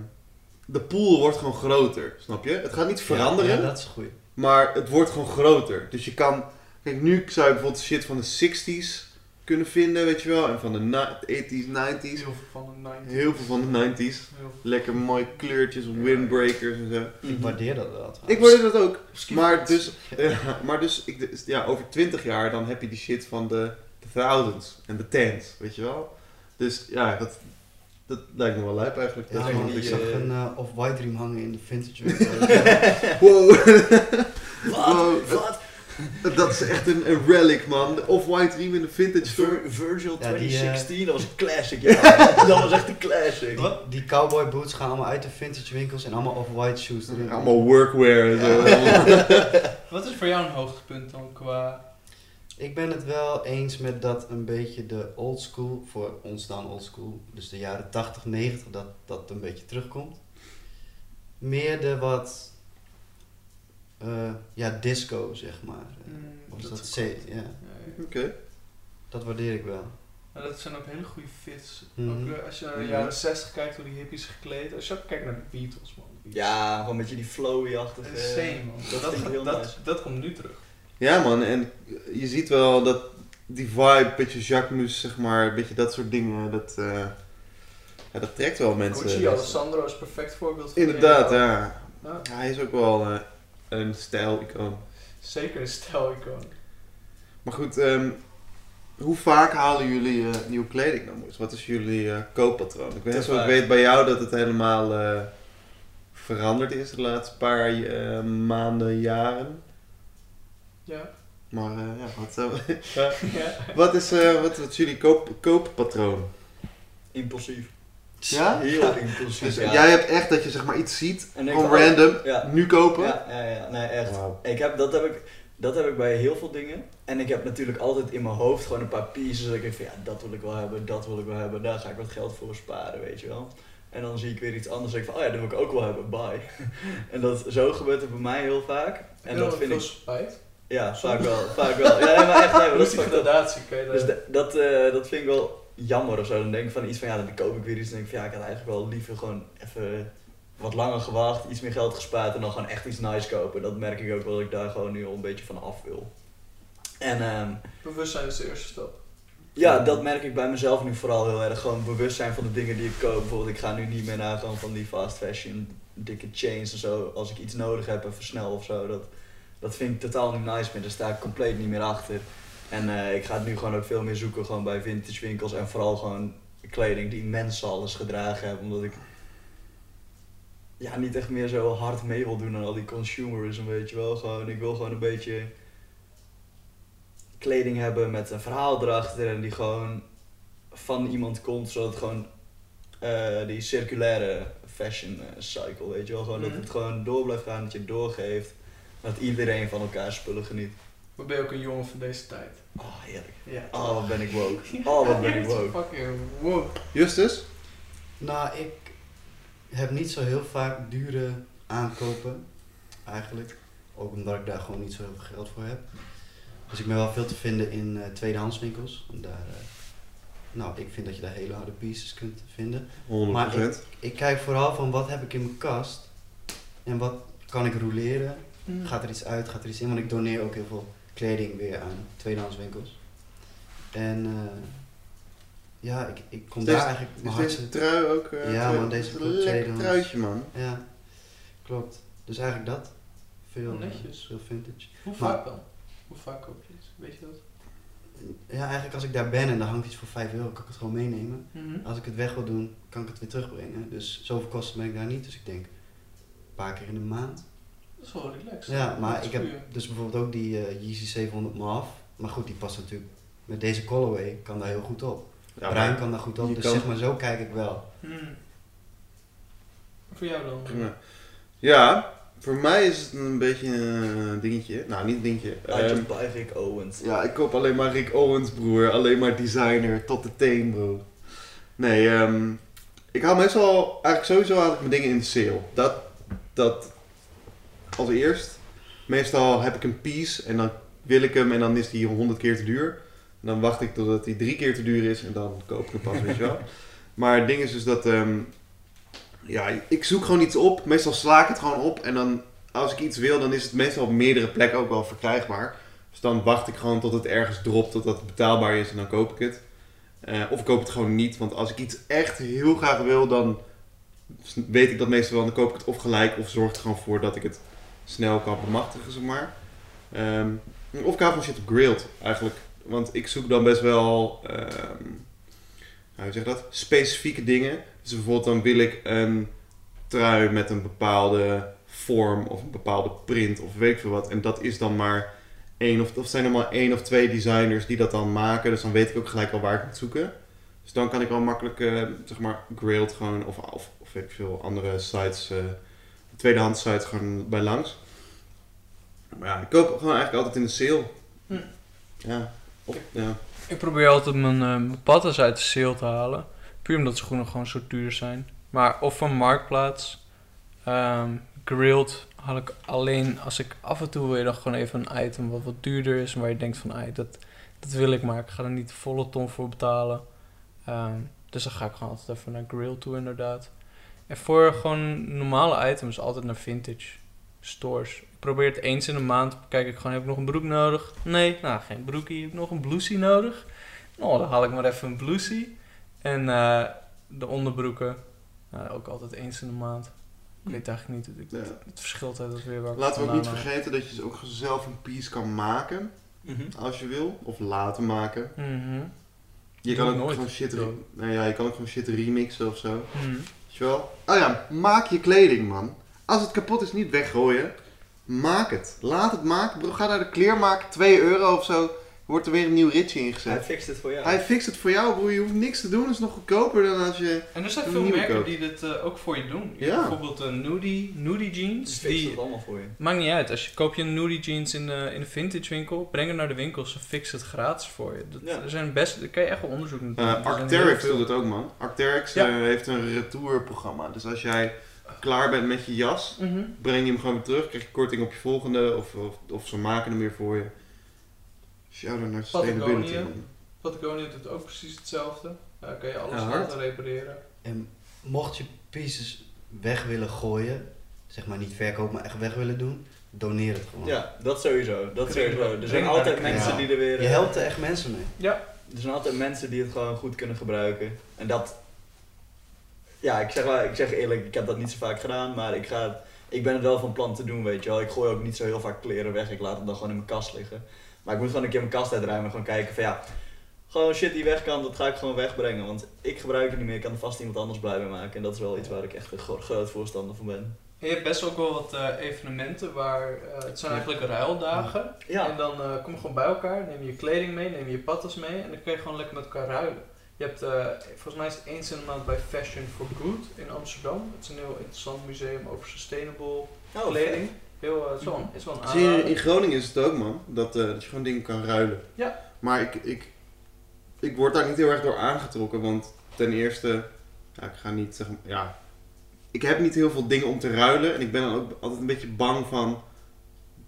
A: de pool wordt gewoon groter, snap je? Het gaat niet veranderen,
C: Ja, dat is goed.
A: Maar het wordt gewoon groter. Dus je kan. Kijk, nu zou je bijvoorbeeld shit van de 60s kunnen vinden, weet je wel. En van de na- 80s, 90s.
B: Heel veel van de 90s.
A: Heel veel van de 90s.
B: Heel veel.
A: Lekker mooie kleurtjes, windbreakers en zo.
C: Ik
D: Mhm.
C: waardeer dat wel.
A: Ik
C: trouwens.
A: waardeer dat ook. Maar dus, ja, maar dus ik, dus, ja, over 20 jaar dan heb je die shit van de, de thousands en de tens, weet je wel? Dus ja, dat, dat lijkt me wel lijp eigenlijk.
C: Ja,
A: Dat is
C: man,
A: gewoon
C: ik
A: niks
C: zag
A: aan.
C: een eh, off-white riem hangen in de vintage winkel.
A: Wow.
D: Wat?
A: Wow.
D: Wat?
A: dat is echt een, een relic, man. De Off-white riem in de vintage store.
D: Vir- Virgil
C: Ja, die, eh,
D: 2016, dat was een classic, ja. dat was echt een classic.
C: die cowboy boots gaan allemaal uit de vintage winkels en allemaal off-white shoes erin.
A: Allemaal workwear en zo. Allemaal-
B: Wat is voor jou een hoogtepunt dan qua...
C: Ik ben het wel eens met dat een beetje de old school, voor ons dan old school, dus de jaren 80, 90, dat dat een beetje terugkomt. Meer de wat, eh, ja, disco zeg maar. Eh,
B: Mm,
C: of dat,
B: dat-
C: ze- ja,
B: Nee.
A: Oké.
C: dat waardeer ik wel.
B: Maar dat zijn ook hele goede fits.
C: Mhm.
B: Ook eh, als je
A: Mhm.
B: naar jaren 60 kijkt hoe die hippies gekleed. Als je ook kijkt naar de Beatles, man. De Beatles.
D: Ja, gewoon met je die flowy-achtige...
B: Insane, man.
D: dat
B: Dat,
D: vind ik heel
B: dat, dat,
D: nice.
B: komt nu terug.
A: Ja, man. En je ziet wel dat die vibe, een beetje Jacquemus, zeg maar, een beetje dat soort dingen, dat, eh, ja, dat trekt wel mensen.
B: Gucci
D: eh,
B: Alessandro is perfect voorbeeld van
A: Inderdaad,
B: die-
A: ja.
B: Ja,
A: Hij is ook wel eh, een stijl-icoon.
B: Zeker een stijl-icoon.
A: Maar goed, ehm, hoe vaak halen jullie eh, nieuwe kleding dan? Moes? Wat is jullie eh, kooppatroon? Ik weet,
D: Te
A: zo, ik
D: vaak.
A: weet bij jou dat het helemaal eh, veranderd is de laatste paar eh, maanden, jaren.
B: Ja.
A: Maar eh, ja, wat, eh,
B: ja.
A: wat, is, eh, wat, wat is jullie koop, kooppatroon?
D: Impulsief.
A: Ja?
D: Heel impulsief,
A: Dus
D: ja.
A: jij hebt echt dat je zeg maar iets ziet,
D: En ik
A: gewoon
D: van, oh,
A: random,
D: Ja.
A: nu kopen?
D: Ja, ja, ja. Nee, echt.
A: Wauw.
D: Ik heb, dat, heb ik, dat heb ik bij heel veel dingen. En ik heb natuurlijk altijd in mijn hoofd gewoon een paar pieces. Dat ik denk van ja, dat wil ik wel hebben, dat wil ik wel hebben. Daar ga ik wat geld voor sparen, weet je wel. En dan zie ik weer iets anders. denk ik van oh ja, dat wil ik ook wel hebben, bye. en dat, zo gebeurt het bij mij heel vaak. En dat vind
B: veel
D: ik.
B: spijt.
D: Ja, vaak wel. Vaak wel. Ja, nee, maar echt, nee, maar dat
B: Hoe
D: is
B: die
D: vaak-
B: gradatie kan je daar...
D: dus da- dat, eh, dat vind ik wel jammer of zo. Dan denk ik van iets van ja, dan koop ik weer iets. Dan denk ik van ja, ik had eigenlijk wel liever gewoon even wat langer gewacht, iets meer geld gespaard en dan gewoon echt iets nice kopen. Dat merk ik ook wel dat ik daar gewoon nu al een beetje van af wil. En ehm,
B: Bewustzijn is de eerste stap.
D: ja, dat merk ik bij mezelf nu vooral heel erg. Gewoon bewust zijn van de dingen die ik koop. Bijvoorbeeld, ik ga nu niet meer naar gewoon van die fast fashion, dikke chains en zo. Als ik iets nodig heb, even snel of zo. Dat, dat vind ik totaal niet nice meer. Daar sta ik compleet niet meer achter. En eh, ik ga het nu gewoon ook veel meer zoeken gewoon bij vintage winkels. En vooral gewoon kleding die mensen alles gedragen hebben. Omdat ik ja, niet echt meer zo hard mee wil doen aan al die consumerism, weet je wel. Gewoon, ik wil gewoon een beetje kleding hebben met een verhaal erachter en die gewoon van iemand komt, zodat het gewoon eh, die circulaire fashion eh, cycle, weet je wel. Gewoon dat
B: Mhm.
D: het gewoon door blijft gaan, dat je het doorgeeft. Dat iedereen van elkaar spullen geniet.
B: Maar ben je ook een jongen van deze tijd?
D: Oh, heerlijk.
B: Ja.
D: Oh, wat ben ik woke. Oh, wat ben ik woke.
B: Fucking woke.
A: Justus?
C: Nou, ik heb niet zo heel vaak dure aankopen, eigenlijk. Ook omdat ik daar gewoon niet zo heel veel geld voor heb. Dus ik ben wel veel te vinden in eh tweedehandswinkels. En daar, eh, nou, ik vind dat je daar hele harde pieces kunt vinden.
A: 100%.
C: Maar Ik kijk vooral van wat heb ik in mijn kast en wat kan ik roleren.
B: Mm.
A: Hm.
C: Gaat er iets uit, gaat er iets in? Want ik doneer ook heel veel kleding weer aan tweedehandswinkels. En eh, ja, ik, ik kom
A: Is
C: daar
A: deze-
C: eigenlijk
A: Is
C: mijn
A: deze
C: hartstikke...
A: trui ook... eh,
C: Ja,
A: trui-
C: man, deze is ook
A: Lekker
C: tweedehands.
A: truitje, man.
C: Ja, klopt. Dus eigenlijk dat. Veel, eh,
B: Oh, netjes.
C: veel vintage.
B: Hoe
C: Maar-
B: vaak dan? Hoe vaak koop je iets? Weet je dat?
C: Ja, eigenlijk als ik daar ben en daar hangt iets voor 5 euro, kan ik het gewoon meenemen.
B: Mm-hmm.
C: Als ik het weg wil doen, kan ik het weer terugbrengen. Dus zoveel kosten ben ik daar niet. Dus ik denk een paar keer in de maand.
B: Dat is wel relaxed.
C: Ja,
B: Dat
C: maar
B: is
C: ik heb
B: goeie.
C: dus bijvoorbeeld ook die eh Yeezy 700 MAF. Maar goed, die past natuurlijk met deze colorway kan daar heel goed op.
A: Ja,
C: Bruin kan daar goed op.
A: je
C: Dus
A: kan-
C: zeg maar zo kijk ik wel.
B: Mhm. Voor jou dan?
A: Ja. Ja, voor mij is het een beetje een dingetje. Nou, niet een dingetje.
D: Uit
A: Ehm,
D: bij Rick Owens.
A: ja, ik koop alleen maar Rick Owens, broer. Alleen maar designer, tot de teen, bro. Nee, ehm, ik haal meestal... Eigenlijk sowieso haal ik mijn dingen in de sale. Dat, dat als eerst. Meestal heb ik een piece en dan wil ik hem en dan is die 100 keer te duur. En dan wacht ik totdat die drie keer te duur is en dan koop ik hem pas, weet je wel. Maar het ding is dus dat... ehm, ja, ik zoek gewoon iets op. Meestal sla ik het gewoon op en dan als ik iets wil, dan is het meestal op meerdere plekken ook wel verkrijgbaar. Dus dan wacht ik gewoon tot het ergens dropt, totdat het betaalbaar is en dan koop ik het. Eh, of ik koop het gewoon niet, want als ik iets echt heel graag wil, dan s- weet ik dat meestal wel. Dan koop ik het of gelijk of zorg er gewoon voor dat ik het snel kan bemachtigen, zeg maar. Ehm, of ik hou van shit op grilled, eigenlijk. Want ik zoek dan best wel, ehm, nou, hoe zeg je dat, specifieke dingen. Dus bijvoorbeeld dan wil ik een trui met een bepaalde vorm of een bepaalde print of weet ik veel wat. En dat is dan maar één of, of zijn er maar één of twee designers die dat dan maken. Dus dan weet ik ook gelijk al waar ik moet zoeken. Dus dan kan ik wel makkelijk, eh, zeg maar, Grailed gewoon of, of, of weet ik veel andere sites, eh tweedehands sites gewoon bij langs. Maar ja, ik koop gewoon eigenlijk altijd in de sale.
B: Hm.
A: Ja. Op, ja.
B: Ik probeer altijd mijn eh, mijn patas uit de sale te halen. Puur omdat schoenen gewoon zo duur zijn. Maar of van Marktplaats. ehm grilled haal ik alleen als ik af en toe weer dan gewoon even een item wat wat duurder is. Waar je denkt van, "Ai, dat, dat wil ik maar. Ik ga er niet volle ton voor betalen. Ehm, dus dan ga ik gewoon altijd even naar grilled toe inderdaad. En voor gewoon normale items altijd naar vintage stores. Ik probeer het eens in de maand. Kijk ik gewoon, heb ik nog een broek nodig? Nee, nou geen broekie. Heb ik nog een blousie nodig? Nou, dan haal ik maar even een blousie. En eh, de onderbroeken, nou, ook altijd eens in de maand. Ik weet eigenlijk niet, het,
A: Ja.
B: het verschilt altijd weer waar ik
A: Laten we ook
B: vandaan
A: niet
B: haal.
A: vergeten dat je dus ook zelf een piece kan maken,
D: Mhm.
A: als je wil. Of laten maken.
B: Mhm.
A: Je
B: Doe
A: kan
B: ik
A: ook
B: nooit.
A: gewoon shit.
B: Doe.
A: re- Nou ja, je kan ook gewoon shit remixen of zo.
B: Mhm.
A: Weet je wel? Oh ja, maak je kleding, man. Als het kapot is, niet weggooien. Maak het. Laat het maken. Bro, ga naar de kleermaker, 2 euro of zo. Wordt er weer een nieuw ritje
D: Hij
A: ingezet.
D: fixt het voor jou.
A: Hij fixt het voor jou, broer. Je hoeft niks te doen. Het is nog goedkoper dan als je...
B: En er zijn
A: Een
B: veel
A: nieuwe
B: merken
A: koop.
B: die dit eh, ook voor je doen. Je
A: Ja.
B: hebt Bijvoorbeeld een nudie, nudie jeans.
D: fixt
B: Die,
D: het allemaal voor je.
B: maakt niet uit. Als je koop je een nudie jeans in de, in de vintage winkel, breng het naar de winkel. Ze fixen het gratis voor je. Dat,
D: Ja.
B: Er zijn best, daar kan je echt wel onderzoek naar doen.
A: eh
B: Er zijn heel
A: Arcteryx
B: veel-
A: doet het ook, man. Arcteryx
B: Ja.
A: eh, heeft een retourprogramma. Dus als jij klaar bent met je jas,
B: Mhm.
A: breng je hem gewoon weer terug. Krijg je korting op je volgende. Of, of, of ze maken hem weer voor je. Shout-out naar sustainability,
B: Patagonia.
A: man.
B: Patagonia doet ook precies hetzelfde. Daar kan je alles
A: Ja, hard.
B: laten repareren.
C: En mocht je pieces weg willen gooien, zeg maar niet verkopen, maar echt weg willen doen, doneer het gewoon.
D: Ja, dat sowieso. Dat
B: Breng-
D: sowieso. Er zijn
B: breng-
D: altijd
B: breng-
D: mensen
C: ja.
D: die er weer...
C: Je
D: eh,
C: helpt er echt mensen mee.
D: Er zijn altijd mensen die het gewoon goed kunnen gebruiken. En dat... Ja, ik zeg, wel, ik zeg eerlijk, ik heb dat niet zo vaak gedaan, maar ik, ga het, ik ben het wel van plan te doen, weet je wel. Ik gooi ook niet zo heel vaak kleren weg, ik laat het dan gewoon in mijn kast liggen. Maar ik moet gewoon een keer mijn kast uitruimen en gewoon kijken van ja... Gewoon shit die weg kan, dat ga ik gewoon wegbrengen, want ik gebruik het niet meer. Ik kan er vast iemand anders blij mee maken. En dat is wel iets waar ik echt een gro- groot voorstander van ben.
B: En je hebt best ook wel wat eh, evenementen waar, eh, het zijn eigenlijk ruildagen. En
D: Ja,
B: dan eh, kom je gewoon bij elkaar, neem je je kleding mee, neem je je patas mee en dan kun je gewoon lekker met elkaar ruilen. Je hebt, eh, volgens mij is het eens in de maand bij Fashion for Good in Amsterdam. Het is een heel interessant museum over sustainable
D: oh,
B: kleding. Heel, eh, het is wel een- het is wel een
A: Zie je, in
B: aanrader.
A: Groningen is het ook, man. Dat, eh, dat je gewoon dingen kan ruilen.
B: Ja.
A: Maar ik, ik, ik word daar niet heel erg door aangetrokken. Want ten eerste, ja, ik ga niet zeggen... Ja, ik heb niet heel veel dingen om te ruilen. En ik ben dan ook altijd een beetje bang van...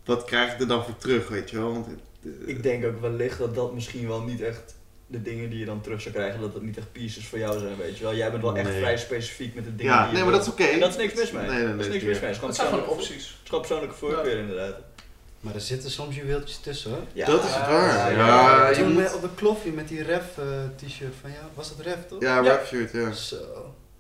A: Wat krijg ik er dan voor terug, weet je wel? Want, eh,
D: Ik denk ook wellicht dat dat misschien wel niet echt de dingen die je dan terug zou krijgen, dat dat niet echt pieces voor jou zijn, weet je wel. Jij bent wel echt
A: Nee.
D: vrij specifiek met de dingen die
A: ja,
D: je
A: nee, maar dat
D: wilt.
A: is oké.
D: En dat is niks mis mee.
A: Nee, nee, nee.
D: dat is niks mis mee. Het is gewoon
B: Dat zijn gewoon
D: persoonlijke,
B: opties.
D: het is gewoon persoonlijke voorkeur inderdaad.
C: Maar er zitten soms juweeltjes tussen hoor.
D: Ja.
A: Dat is
B: Ja,
A: waar.
D: ja,
A: Ja,
D: ja.
A: je
C: Toen
A: moet-
C: met- op de klofje met die ref eh, t-shirt van jou, was dat ref toch?
A: Ja,
B: Ja.
A: rap shirt, ja.
C: Zo.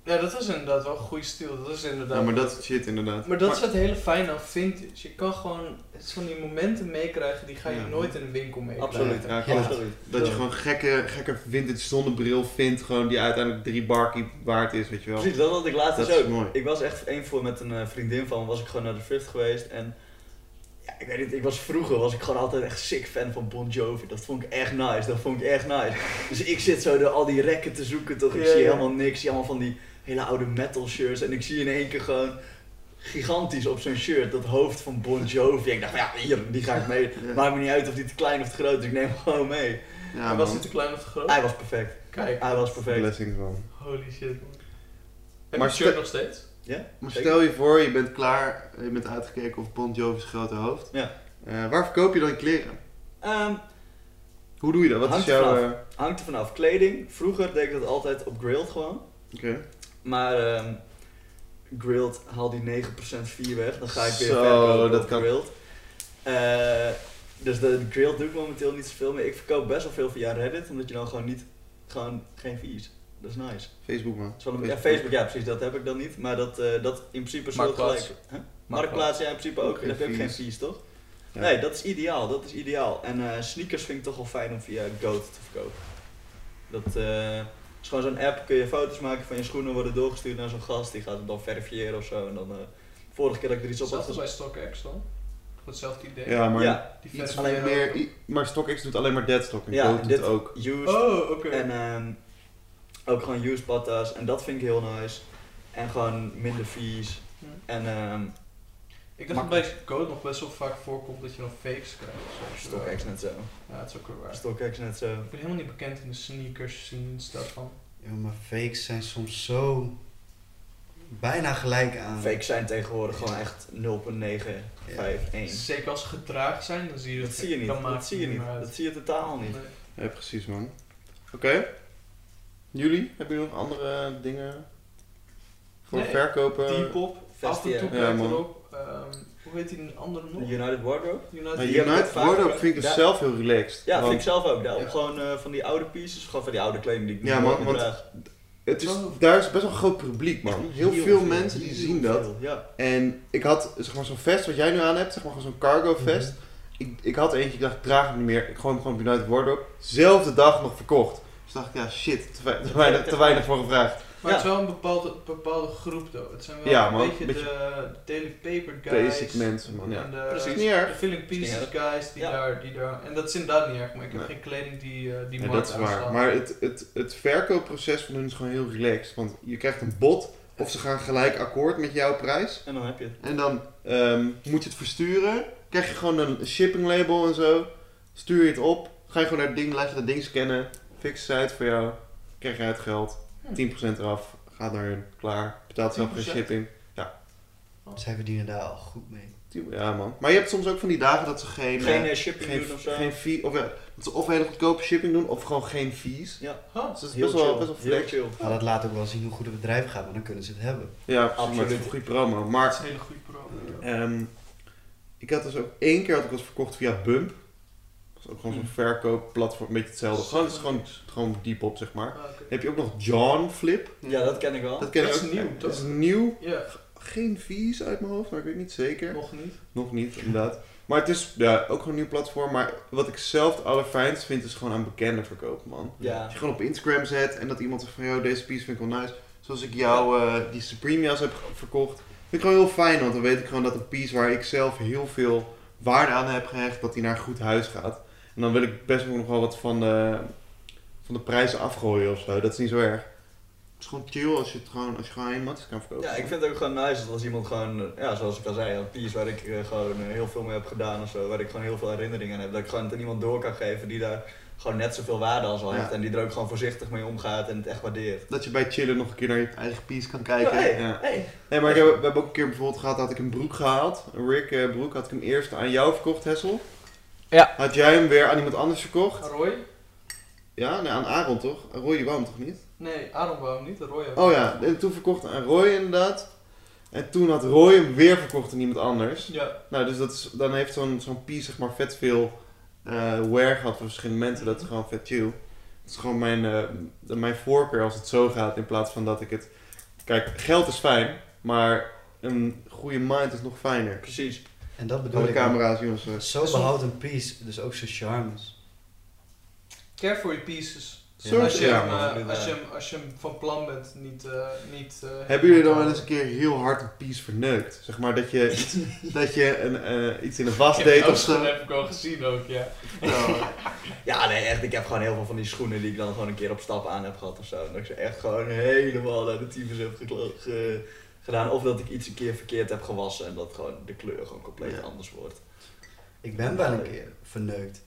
B: Ja, dat is inderdaad wel een goede stijl. Dat is inderdaad...
A: Ja, maar dat is shit inderdaad.
B: Maar dat is het hele fijne aan vintage. Je kan gewoon het is van die momenten meekrijgen die ga je
A: Ja.
B: nooit in een winkel meekrijgen.
D: Absoluut.
A: Ja, klopt.
D: Absoluut.
A: Dat je gewoon gekke, gekke vintage zonnebril vindt, gewoon die uiteindelijk drie barkie waard is, weet je wel.
D: Precies, dat had ik laatst
A: Dat
D: dus
A: is
D: ook.
A: mooi.
D: Ik was echt één voor met een eh, vriendin van, me, was ik gewoon naar de Thrift geweest en ja, ik weet niet, ik was vroeger was ik gewoon altijd echt sick fan van Bon Jovi. Dat vond ik echt nice, dat vond ik echt nice. Dus ik zit zo door al die rekken te zoeken toch, ik
B: Ja,
D: zie
B: ja.
D: helemaal niks, ik zie allemaal van die hele oude metal shirts en ik zie in één keer gewoon gigantisch op zo'n shirt dat hoofd van Bon Jovi. En ik dacht, van, ja, hier, die ga ik mee.
A: Ja.
D: Maakt me niet uit of die te klein of te groot is, ik neem hem gewoon mee.
A: Ja,
B: En
A: man.
B: was het te klein of te groot?
D: Hij was perfect,
B: Kijk,
D: hij was perfect.
A: Blessings, man.
B: holy shit man. Heb je
A: Maar
B: het shirt
A: ste-
B: nog steeds?
A: Maar
D: Zeker.
A: stel je voor, je bent klaar, je bent uitgekeken op Bon Jovi's grote hoofd.
D: Ja.
A: Eh, waar verkoop je dan je kleren?
D: Ehm,
A: Hoe doe je dat? Wat is
D: Hangt
A: jouw...
D: ervan
A: eh,
D: hangt er vanaf, kleding, vroeger deed ik dat altijd op grilled gewoon.
A: Oké.
D: Maar ehm, grilled, haal die 9% vier weg. Dan ga ik weer
A: Zo,
D: verkopen
A: dat
D: op
A: kan.
D: grilled. Eh, dus de grilled doe ik momenteel niet zoveel meer. Ik verkoop best wel veel via Reddit, omdat je dan gewoon niet, gewoon geen fees. Dat is nice.
A: Facebook, man.
D: Dat is wel een- ja, Facebook, ja precies, dat heb ik dan niet. Maar dat, eh, dat in principe is wel
E: Marktplaats.
D: gelijk. Huh? Marktplaats, ja in principe ook.
A: Geen
D: Daar heb je ook geen
A: fees.
D: fees, toch?
A: Ja.
D: Nee, dat is ideaal, dat is ideaal. En eh, sneakers vind ik toch wel fijn om via Goat te verkopen. Dat eh, is gewoon zo'n app, kun je foto's maken van je schoenen, worden doorgestuurd naar zo'n gast, die gaat het dan verifiëren of zo. En dan, eh, vorige keer dat ik er iets op had
B: Zelfs als
D: gezet.
B: bij StockX dan. Voor hetzelfde idee.
A: Ja, maar,
D: Ja,
B: Die eh,
A: iets
B: versie
A: alleen
B: van jou
A: meer,
B: ook.
A: i- maar StockX doet alleen maar deadstock en
D: Ja,
A: Goat doet
D: dit-
A: het ook.
D: used.
B: Oh, oké.
D: En ehm, ook gewoon used patas. En dat vind ik heel nice. En gewoon minder fees.
B: Ja.
D: En ehm
B: Ik dacht dat bij code nog best wel vaak voorkomt dat je dan fakes krijgt. of zo.
D: StockX net zo.
B: Ja, dat is ook wel waar.
D: StockX net zo.
B: Ik ben helemaal niet bekend in de sneakers scenes daarvan.
C: Ja, maar fakes zijn soms zo bijna gelijk aan.
D: Fakes zijn tegenwoordig gewoon echt 0.951.
B: Zeker als ze getraagd zijn, dan zie je
D: Dat zie je niet.
B: Dan maakt
D: Dat
B: het
D: zie je niet.
B: meer uit.
D: Dat zie je totaal niet.
B: Nee.
A: Ja, precies, man. Oké. Jullie, hebben jullie nog andere dingen voor
B: Nee,
A: verkopen?
B: T-pop, af en toe
D: Vestiaire.
A: Ja,
B: kijkt
A: man.
B: erop. Ehm, hoe heet die een andere nog?
D: United Wardrobe?
B: United.
A: Maar
D: Die heb ik
A: United
D: ook vaak
A: Wardrobe
D: gebruikt.
A: vind ik dus
D: Ja.
A: zelf heel relaxed.
D: Ja, vind
A: want
D: ik zelf ook. Daarom
B: Ja.
D: gewoon eh, van die oude pieces, gewoon van die oude kleding die ik
A: Ja,
D: nu
A: man,
D: nooit meer
A: want
D: draag.
A: het is, daar is best wel een groot publiek, man. Heel, veel mensen die
D: heel
A: zien dat.
D: veel, Ja.
A: En ik had zeg maar, zo'n vest wat jij nu aan hebt, zeg maar gewoon zo'n cargo
B: Mhm.
A: vest. ik, ik had eentje, ik dacht, ik draag hem niet meer. Ik gooi hem gewoon op United Wardrobe. Zelfde dag nog verkocht. Dus dacht ik, ja shit, te, wei- te weinig, te weinig voor gevraagd.
B: Maar
D: Ja.
B: het is wel een bepaalde, bepaalde groep, though. Het zijn wel
A: Ja,
B: een
A: man.
B: beetje,
A: Beetje-
B: de Daily Paper guys.
A: Basic mensen, man. Ja.
B: En de,
A: Dat is niet erg.
B: de Filling Pieces guys die,
D: Ja.
B: daar, die daar... En dat is inderdaad niet erg, maar ik heb
A: Nee.
B: geen kleding die eh, die
A: Ja,
B: markt
A: dat is waar.
B: aanslaat.
A: Maar het, het, het verkoopproces van hun is gewoon heel relaxed. Want je krijgt een bod of ze gaan gelijk akkoord met jouw prijs.
D: En dan heb je het.
A: En dan ehm, moet je het versturen. Krijg je gewoon een shipping label en zo. Stuur je het op. Ga je gewoon naar het ding, laat je dat ding scannen. Fix het uit voor jou. Krijg je het geld.
D: Hm.
A: 10% eraf. Gaat naar hun. Klaar. Betaalt zelf geen
B: 10%?
A: shipping.
C: Zij verdienen daar al goed mee.
A: Ja, man. Maar je hebt soms ook van die dagen dat ze geen... eh,
D: Geen eh, shipping
A: geen,
D: doen of zo.
A: geen fee... Of, ja, dat ze of hele goedkope shipping doen, of gewoon geen fees.
B: Huh?
A: Dus dat is
D: Heel
A: best wel, best
D: chill,
A: wel
D: heel
A: flex.
D: chill.
C: Maar dat laat ook wel zien hoe goed het bedrijf gaat, want dan kunnen ze het hebben.
A: Ja, absoluut. Maar het is
D: Absoluut.
A: een goede promo.
B: Dat is
A: Maar
B: een hele goede pro.
A: ehm, ik had dus ook één keer had ik wat verkocht via Bump. Dat is ook
B: Mm.
A: gewoon zo'n verkoopplatform, een beetje hetzelfde. Gewoon, het is gewoon, gewoon diep op, zeg maar.
B: Ah, oké.
A: Dan heb je ook nog John Flip.
D: Ja, dat ken ik wel.
A: Dat ken
B: Oh, Dat
A: ik
B: is
A: ook.
B: nieuw,
A: Dat
B: toch?
A: is nieuw.
B: Ja,
A: Geen fees uit mijn hoofd, maar ik weet niet zeker.
B: nog niet.
A: Nog niet, inderdaad. Maar het is ja, ook gewoon een nieuw platform. Maar wat ik zelf het allerfijnst vind, is gewoon aan bekenden verkopen, man.
D: Ja.
A: Als je gewoon op Instagram zet en dat iemand zegt van, joh, deze piece vind ik wel nice. Zoals ik jou eh, die Supreme jas heb ge- verkocht. Vind ik gewoon heel fijn, want dan weet ik gewoon dat een piece waar ik zelf heel veel waarde aan heb gehecht, dat die naar een goed huis gaat. En dan wil ik best wel nog wel wat van de, van de prijzen afgooien of zo. Dat is niet zo erg. Het is gewoon chill als je, het gewoon, als je gewoon één matjes kan verkopen.
D: Ja, ik vind het ook gewoon nice dat als iemand gewoon, eh, ja, zoals ik al zei, een piece waar ik eh, gewoon eh, heel veel mee heb gedaan of zo, waar ik gewoon heel veel herinneringen aan heb, dat ik gewoon het aan iemand door kan geven die daar gewoon net zoveel waarde als al
A: Ja.
D: heeft en die er ook gewoon voorzichtig mee omgaat en het echt waardeert.
A: Dat je bij chillen nog een keer naar je eigen piece kan kijken.
D: hey,
A: Ja.
D: hey.
A: Nee, maar ik heb, we hebben ook een keer bijvoorbeeld gehad, had ik een broek gehaald. Een Rick eh, broek had ik hem eerst aan jou verkocht, Hessel.
E: Ja.
A: Had jij hem weer aan iemand anders verkocht?
B: Roy?
A: Ja, nee, aan Aaron toch? Roy die wou hem toch niet?
B: Nee, Aaron wou niet. Roy ook.
A: Oh ja, en toen verkocht aan Roy inderdaad. En toen had Roy hem weer verkocht aan iemand anders.
B: Ja.
A: Nou, dus dat is, dan heeft zo'n zo'n piece zeg maar vet veel eh wear gehad voor verschillende mensen. Dat is gewoon vet chill. Het is gewoon mijn, eh, de- mijn voorkeur als het zo gaat in plaats van dat ik het... Kijk, geld is fijn, maar een goede mind is nog fijner.
D: Precies.
C: En dat bedoel
A: Door de
C: ik. ook.
A: camera's, jongens. eh.
C: Zo behoudt een piece dus ook zijn charmes.
B: Care for your pieces.
A: Soort,
B: als, je
A: ja,
B: hem,
D: man.
B: eh, als, je hem, als je hem van plan bent, niet... eh, niet eh,
A: Hebben jullie dan wel eens een keer heel hard een piece verneukt? Zeg maar dat je, iets- dat je een, eh, iets in een was
B: Ik heb
A: deed
B: het
A: of
B: ook- Dat
A: zo.
B: heb ik al gezien ook, ja.
A: Nou,
D: Ja, nee, echt. Ik heb gewoon heel veel van die schoenen die ik dan gewoon een keer op stap aan heb gehad of zo. En dat ik ze echt gewoon helemaal naar de tyfus heb gekla- ge- gedaan. Of dat ik iets een keer verkeerd heb gewassen en dat gewoon de kleur gewoon compleet
A: Ja.
D: anders wordt.
C: Ik ben wel een keer verneukt.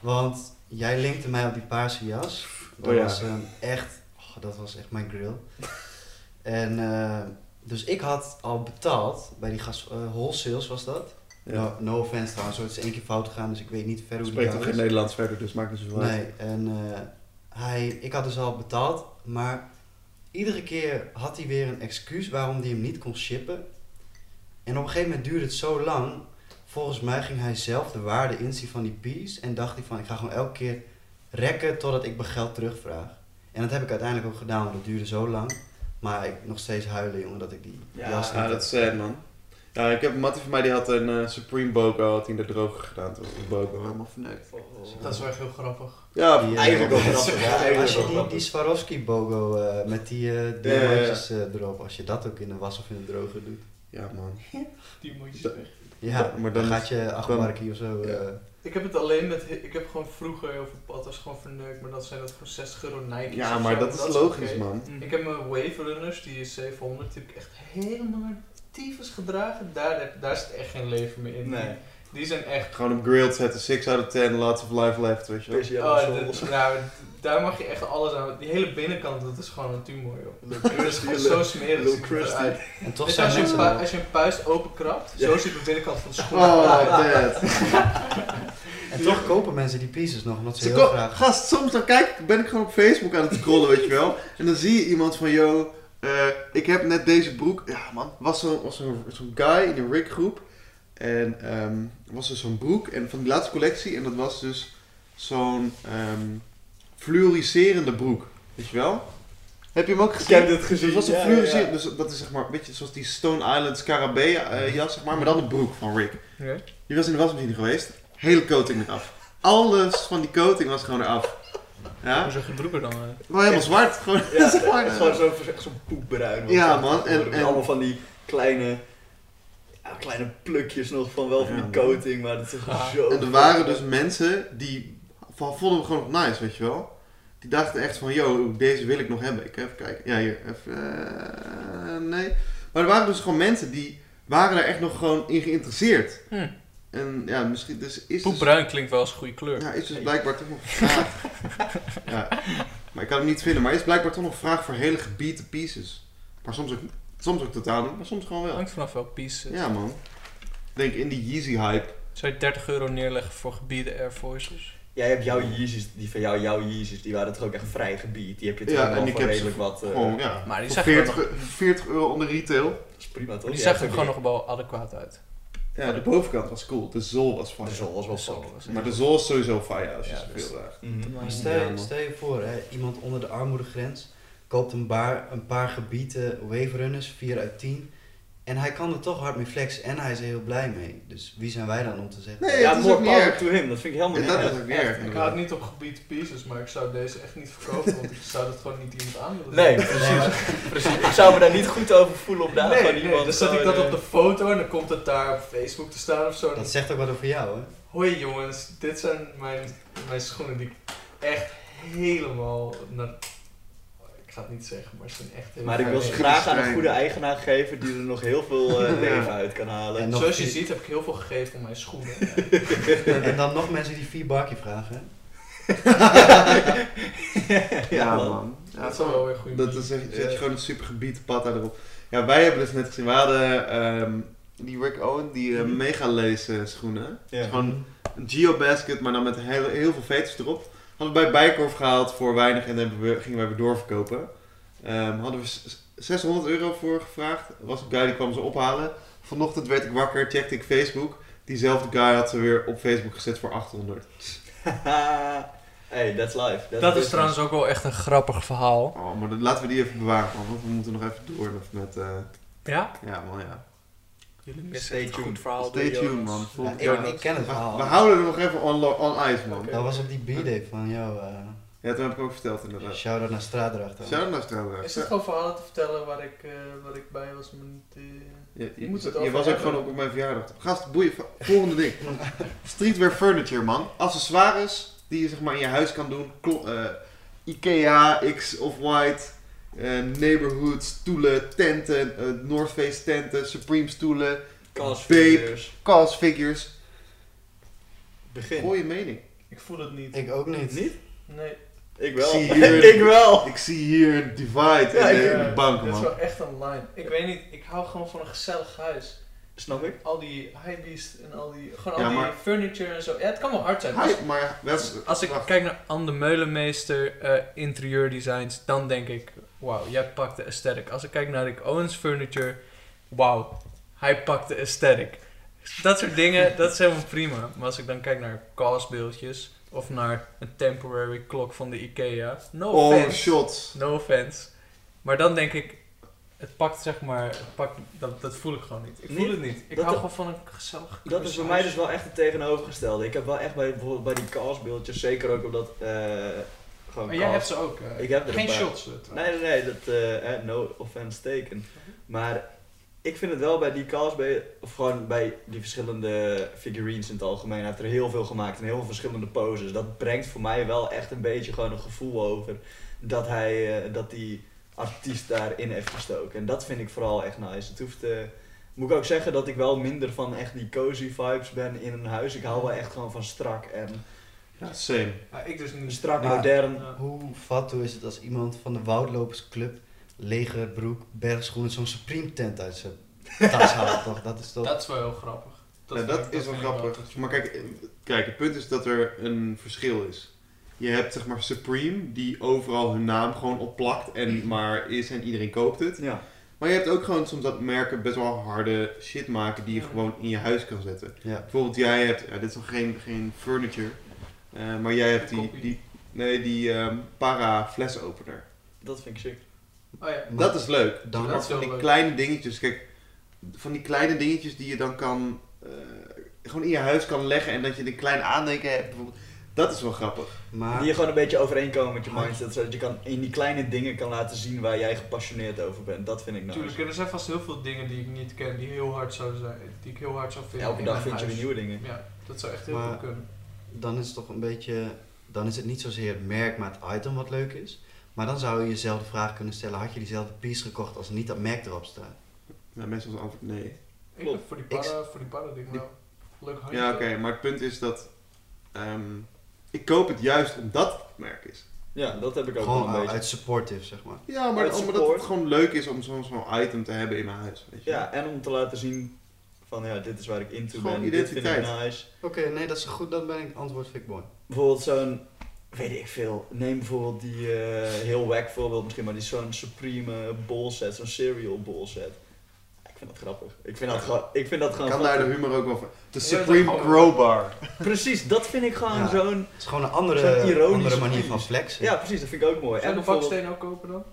C: Want jij linkte mij op die paarse jas. Dat
A: Oh ja.
C: was ehm, echt, oh, dat was echt mijn grill. En eh, dus ik had al betaald bij die gas, eh, wholesales was dat.
A: ja.
C: No, no offense trouwens, hoor, het is één keer fout gegaan, dus ik weet niet verder hoe die
A: Spreekt ook
C: jas
A: geen Nederlands verder, dus maakt niet zoveel uit.
C: Nee, en eh, hij, ik had dus al betaald, maar Iedere keer had hij weer een excuus waarom hij hem niet kon shippen. En op een gegeven moment duurde het zo lang. Volgens mij ging hij zelf de waarde inzien van die piece. En dacht hij van, ik ga gewoon elke keer rekken totdat ik mijn geld terugvraag. En dat heb ik uiteindelijk ook gedaan, want dat duurde zo lang. Maar ik nog steeds huilen, jongen, dat ik die
D: Ja,
C: jas niet
A: Ja, nou,
C: heb.
A: Ah, dat is sad, man. Ja, ik heb een mattie van mij die had een eh, Supreme Boko, had hij in de droger gedaan. Toen was de Boko helemaal verneukt.
B: Dat is wel echt heel grappig.
A: Ja,
C: Die, eh,
D: Eigenlijk ook grappig.
C: Ja,
D: Eigenlijk
C: als je
D: ook
C: die,
D: grappig.
C: die Swarovski-bogo eh, met die eh
A: Ja, ja, ja.
C: diamantjes eh, erop, als je dat ook in de was of in de droger doet.
A: ja man.
B: Die moet je
A: Dat-
B: weg.
C: Ja,
A: Ja, maar
C: dan
A: dan-
C: gaat je achtbarkie of zo.
A: Ja.
C: eh,
B: Ik heb het alleen met... Ik heb gewoon vroeger heel veel patas gewoon verneukt. Maar dat zijn dat gewoon 60 euro Nike's
A: Ja,
B: of
A: maar
B: zo,
A: dat is
B: oké.
A: logisch, man.
B: Ik heb mijn Wave Runners, die is 700, die heb ik echt helemaal naar tyfus gedragen. Daar, heb, daar zit echt geen leven meer in.
D: Nee.
B: Die, die zijn echt...
A: Gewoon op grilled zetten, 6 out of 10, lots of life left, weet je wel.
D: Pis je
B: Oh,
D: aan de
B: dit-
D: zon.
B: nou, daar mag je echt alles aan. Die hele binnenkant, dat is gewoon een tumor, joh.
D: Little
B: Dat is
D: Christy,
B: gewoon zo
D: little-
B: smerig.
D: Lil
B: ziet het eruit.
D: Christy.
C: En toch
B: Dus
C: zijn
B: als, je een
C: mensen
B: pui-
C: wel-
B: als je een puist openkrapt,
D: Ja.
B: zo ziet de binnenkant van de schoen
A: Oh,
B: eruit.
A: dead.
C: En toch kopen mensen die pieces nog, omdat ze
A: Ze
C: heel
A: ko-
C: graag...
A: Gast, soms dan kijk, ben ik gewoon op Facebook aan het scrollen, weet je wel. En dan zie je iemand van, yo, eh, ik heb net deze broek. Ja man, was zo'n was zo'n zo'n guy in een Rick groep. En ehm, was er zo'n broek en van die laatste collectie. En dat was dus zo'n ehm fluoriserende broek, weet je wel. Heb je hem ook
D: Ik
A: gezien?
D: heb dit gezien.
A: Dus dat was een
D: ja,
A: fluoriserend,
D: ja.
A: dus dat is zeg maar een beetje zoals die Stone Island Scarabee eh, jas, zeg maar, maar dan de broek van Rick.
B: Oké.
A: Die was in de wasmachine geweest, hele coating eraf. Alles van die coating was gewoon eraf. Ja,
B: zo gedroeger dan? eh.
A: wel helemaal zwart, gewoon,
D: Ja,
A: zeg maar,
D: het is gewoon zo, echt zo'n poepbruin. was
A: Ja,
D: dat.
A: man, en-
D: Met
A: en-
D: allemaal van die kleine, ja, kleine plukjes nog van wel van
A: Ja,
D: die
A: man.
D: coating, maar dat is echt
B: Ah.
D: zo...
A: En er waren dus mensen die van, vonden we gewoon nog nice, weet je wel. Die dachten echt van, yo, deze wil ik nog hebben. Ik even kijken. Ja, hier, even. eh, nee. Maar er waren dus gewoon mensen die waren daar echt nog gewoon in geïnteresseerd.
B: Hm.
A: En ja, misschien dus is dus,
B: Poepbruin klinkt wel als een goede kleur.
A: ja, is dus blijkbaar toch nog vraag. ja. Maar ik kan hem niet vinden. Maar is blijkbaar toch nog vraag voor hele gebieden pieces. Maar soms ook, soms ook totaal niet, maar soms gewoon wel.
B: Hangt vanaf welk piece.
A: Ja, man. Ik denk in die Yeezy hype.
B: Zou je 30 euro neerleggen voor gebieden Air Forces?
D: Jij hebt jouw Yeezys, die van jou, jouw Yeezys, die waren toch ook echt vrij gebied. Die heb je toch
A: Ja,
D: wel
A: en ik
D: voor
A: heb ze
D: redelijk wat... eh,
A: Gewoon, ja.
B: Maar die
A: Voor
B: zag er
A: 40,
B: nog-
A: euro- 40 euro onder retail.
D: Dat is prima, toch?
B: die
D: Ja,
B: zag er
D: Oh, ook
B: gewoon
D: weer-
B: nog wel adequaat uit.
A: Ja, de bovenkant was cool. De zool was fijn.
D: De zon was wel
B: Dus zo
D: fucking.
B: was het.
A: Maar de zool is sowieso fijn als je
B: Ja, dus-
A: speelt daar.
D: Mhm.
C: Maar
B: Ja,
C: stel, je-
A: man.
C: stel je voor, hè, iemand onder de armoedegrens koopt een, baar, een paar gebieden wave runners, 4 uit 10. En hij kan er toch hard mee flexen en hij is er heel blij mee. Dus wie zijn wij dan om te zeggen?
A: Nee,
D: Ja,
A: het is
D: more
A: ook niet
D: power
A: erg.
D: to him, dat vind ik helemaal
A: En
D: niet
A: dat
D: erg.
A: is ook niet erg.
B: Ik
A: inderdaad.
B: hou niet op gebied pieces, maar ik zou deze echt niet verkopen, want ik zou dat gewoon niet iemand aan willen
D: Nee,
B: doen.
C: Nee,
D: precies.
C: maar-
D: precies. Ik zou me daar niet goed over voelen om daar
B: Nee,
D: van
B: nee,
D: iemand...
B: dus zet ik
D: gewoon,
B: dat op
D: eh,
B: de foto en dan komt het daar op Facebook te staan of zo. Dan-
C: Dat zegt ook wat over jou, hè?
B: Hoi jongens, dit zijn mijn, mijn schoenen die ik echt helemaal naar... Ik ga het niet zeggen, maar ze zijn echt heel
D: Maar ik wil ze
A: Ja,
B: fijn.
D: graag aan een
A: schrijven.
D: goede eigenaar geven die er nog heel veel eh,
A: Ja.
D: leven uit kan halen.
C: En nog
B: Zoals je
C: vier-
B: ziet heb ik heel veel gegeven om mijn schoenen.
C: En dan nog mensen die vier barkie vragen, hè?
A: Ja, man. Ja,
B: dat is wel weer goed.
A: Dat is echt, zet je gewoon een supergebied pad erop. Ja, wij hebben dus net gezien, we hadden ehm, die Rick Owen, die eh,
D: Mhm.
A: mega lace eh, schoenen.
D: Ja.
A: Gewoon een geobasket, maar dan met heel, heel veel veters erop. Hadden we bij Bijkorf gehaald voor weinig en hebben we, gingen wij weer doorverkopen. Ehm, hadden we s- 600 euro voor gevraagd. Was een guy die kwam ze ophalen. Vanochtend werd ik wakker, checkte ik Facebook. Diezelfde guy had ze weer op Facebook gezet voor 800.
D: hey, that's life. That's
B: Dat is
D: business.
B: trouwens ook wel echt een grappig verhaal.
A: Oh, maar dat, laten we die even bewaren, man, want we moeten nog even door met... eh,
B: Ja?
A: ja, man, ja.
B: Jullie
D: missen echt een goed
B: verhaal.
A: Stay tuned, man.
C: Ja,
A: Volgende keer-
C: ik, ik ken het
A: We,
C: verhaal.
A: we houden er nog even on, lo- on ice, man.
B: Oké.
C: Dat was op die b-day van jou. eh
A: Ja, toen heb ik ook verteld, inderdaad.
C: Shout-out naar Straatrachter.
A: Shout-out naar Straalberg.
B: Is het gewoon verhalen te vertellen waar ik, eh, waar ik bij was? Maar niet, eh,
A: Je, je-
B: Je moet het
A: je
B: over
A: was ook
B: hebben.
A: gewoon op, op mijn verjaardag. Gast, boeien. va- Volgende ding. Streetwear furniture, man. Accessoires die je zeg maar in je huis kan doen. Klo- eh, Ikea, X of White, eh, neighborhood stoelen, tenten, eh, North Face tenten, Supreme stoelen,
D: Cast
A: Babe.
D: figures.
A: cast figures.
D: Begin.
A: Gooi je mening.
B: ik voel het niet.
C: Ik ook niet.
D: Niet?
B: Nee.
D: Ik wel.
A: Ik zie hier-
D: ik wel.
A: Ik zie hier een divide
D: Ja,
A: in, de,
D: ik-
A: in de bank,
B: Dit eh, is
A: man.
B: wel echt een line. Ik weet niet, ik hou gewoon van een gezellig huis.
D: Snap ik?
B: Al die highbeast en al die, gewoon
A: Ja,
B: al
A: maar-
B: die furniture en zo. Ja, het kan wel hard zijn. Als-
A: Hi, maar wel-
B: Als ik
A: wacht.
B: kijk naar Anne de Meulenmeester eh interieurdesigns, dan denk ik Wauw, jij pakt de aesthetic. Als ik kijk naar Rick Owens Furniture, wauw, hij pakt de aesthetic. Dat soort dingen, dat is helemaal prima. Maar als ik dan kijk naar kastbeeldjes of naar een temporary klok van de Ikea, no
A: oh,
B: offense.
A: shots.
B: No offense. Maar dan denk ik, het pakt zeg maar, het pakt, dat, dat voel ik gewoon niet. Ik voel
D: Nee,
B: het niet. Ik
D: dat-
B: hou gewoon van een gezellig
D: Dat is voor mij dus wel echt het tegenovergestelde. Ik heb wel echt bij, bijvoorbeeld bij die castbeeldjes, zeker ook omdat... eh gewoon
B: Maar jij hebt
D: cast-
B: ze ook. eh,
D: Ik heb er een
B: geen
D: paar.
B: shots. eh, trouwens.
D: Nee, nee, nee, dat, eh, eh, no offense taken. Maar ik vind het wel bij die castbeelden, of gewoon bij die verschillende figurines in het algemeen, hij heeft er heel veel gemaakt en heel veel verschillende poses. Dat brengt voor mij wel echt een beetje gewoon een gevoel over dat, hij, eh, dat die artiest daarin heeft gestoken. En dat vind ik vooral echt nice. Het hoeft... eh, moet ik ook zeggen dat ik wel minder van echt die cozy vibes ben in een huis. Ik hou wel echt gewoon van strak en
A: Ja, same.
B: Ah, ik dus niet.
D: strak
C: Maar-
D: modern.
B: Ja.
C: Hoe fatsoen is het als iemand van de woudlopersclub, lege broek, bergschoenen, zo'n Supreme tent uit zijn tas haalt? toch? Dat is toch...
B: Dat is wel heel grappig.
A: Ja,
B: vind
A: dat
B: ik-
A: is wel
B: vind ik
A: grappig.
B: dat je-
A: Maar kijk, eh, kijk, het punt is dat er een verschil is. Je hebt zeg maar Supreme, die overal hun naam gewoon opplakt en maar is en iedereen koopt het.
D: Ja.
A: Maar je hebt ook gewoon soms dat merken best wel harde shit maken die je
B: Ja.
A: gewoon in je huis kan zetten.
C: Ja.
A: Bijvoorbeeld jij hebt, ja, dit is nog geen, geen furniture, eh, maar jij hebt die,
B: Koppie.
A: die, nee, die ehm, para fles opener.
D: Dat vind ik sick.
B: Oh ja.
C: Maar
A: Dat is leuk.
C: dan-
A: maar
B: Dat is
A: van
B: wel
A: die
B: leuk.
A: kleine dingetjes, kijk, van die kleine dingetjes die je dan kan, eh, gewoon in je huis kan leggen en dat je een klein aandenken hebt bijvoorbeeld. Dat is wel grappig.
C: Maar
D: Die je gewoon een beetje overeenkomen met je mindset, zodat je kan in die kleine dingen kan laten zien waar jij gepassioneerd over bent. Dat vind ik nice.
B: Tuurlijk, en er zijn vast heel veel dingen die ik niet ken, die heel hard zouden zijn, die ik heel hard zou vinden.
D: Elke
B: in
D: dag
B: mijn
D: vind je weer
B: huis.
D: nieuwe dingen.
B: Ja, dat zou echt heel
C: Maar-
B: goed kunnen.
C: dan is het toch een beetje, dan is het niet zozeer het merk, maar het item wat leuk is. Maar dan zou je jezelf de vraag kunnen stellen, had je diezelfde piece gekocht als niet dat merk erop staat?
A: Nou, meestal is het antwoord nee.
B: Ik
D: Klopt.
B: vind voor die
C: Ik-
B: para, voor die para ding wel. Leuk
D: Oh,
B: handje.
A: Ja, oké, maar het punt is dat ehm, ik koop het juist omdat het merk is.
D: Ja, dat heb ik ook wel
C: Gewoon
D: een
C: uit,
D: beetje.
C: uit supportive, zeg maar.
A: Ja, maar
D: Uit
A: dat, omdat
D: support.
A: het gewoon leuk is om zo'n zo'n item te hebben in mijn huis. Weet je?
D: Ja, en om te laten zien van ja, dit is waar ik into
A: Gewoon
D: ben, dit vind ik
A: identiteit.
D: nice.
C: Oké, nee, dat is goed, dan ben ik antwoord Fikboy.
D: Bijvoorbeeld zo'n, weet ik veel, neem bijvoorbeeld die, eh, heel wack voorbeeld misschien, maar die zo'n supreme bowl set, zo'n cereal bowl set. Ik vind dat grappig. Ik vind dat gewoon, ik vind dat
A: Ik
D: gewoon
A: kan daar
D: grappig.
A: de humor ook wel van. De
B: Ja,
A: Supreme
B: dat gewoon.
A: Crowbar.
D: Precies, dat vind ik gewoon
C: Ja.
D: zo'n,
C: Het is gewoon een
D: Zo'n
C: andere,
D: ironische
C: andere manier
D: piece.
C: van flexen.
D: ja precies, dat vind ik ook
B: Zou
D: mooi.
B: je
D: En
B: de
D: bijvoorbeeld-
B: baksteen ook kopen dan?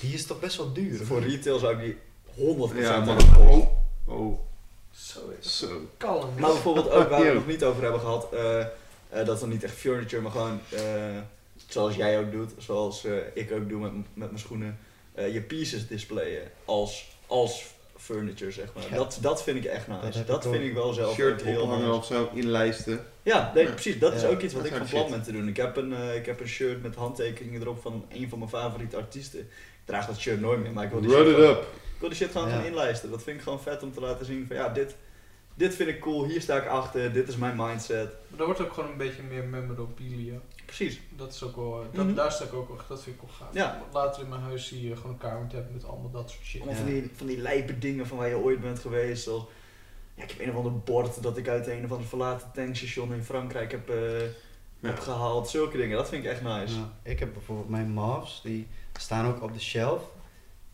C: Die is toch best wel duur?
D: Voor retail zou ik die 100%
A: Ja, man.
D: hebben gekocht.
A: Oh, oh,
B: Zo is het.
A: zo.
B: Kalm.
D: Maar bijvoorbeeld ook waar we het
A: Yo.
D: nog niet over hebben gehad, eh, eh, dat is dan niet echt furniture, maar gewoon eh, zoals jij ook doet, zoals eh, ik ook doe met, m- met mijn schoenen, eh, je pieces displayen als, als furniture, zeg maar.
C: Ja.
D: Dat, dat vind ik echt nice.
C: Dat
D: Dat,
C: heb ik
D: vind
C: ook.
D: ik wel zelf
A: Shirt
D: ook heel
A: ophangen
D: nice.
A: of zo, inlijsten.
D: Ja, nee,
A: Ja.
D: precies. Dat is
C: Ja,
D: ook iets wat
A: dat
D: ik van
A: zou
D: plan ben te doen. Ik heb, een, eh, ik heb een shirt met handtekeningen erop van een van mijn favoriete artiesten. Ik draag dat shirt nooit meer, maar ik wil die
A: Run
D: shirt
A: it
D: wel-
A: up.
D: ik wil die shit gewoon
C: Ja.
D: gaan inlijsten. Dat vind ik gewoon vet om te laten zien van ja, dit, dit vind ik cool, hier sta ik achter, dit is mijn mindset.
B: Maar er wordt ook gewoon een beetje meer memorabilia.
D: Precies.
B: Dat is ook wel, eh, dat,
D: Mhm.
B: daar sta ik ook wel, dat vind ik wel gaaf.
D: Ja.
B: Later in mijn huis zie je gewoon een kamer hebben met allemaal dat soort shit.
D: Allemaal van, die, van die lijpe dingen van waar je ooit bent geweest. Zoals, ja, ik heb een of ander bord dat ik uit een of ander verlaten tankstation in Frankrijk heb, eh,
A: Ja.
D: heb gehaald. Zulke dingen, dat vind ik echt nice.
C: Ja, Dus ik heb bijvoorbeeld mijn mavs, die staan ook op de shelf.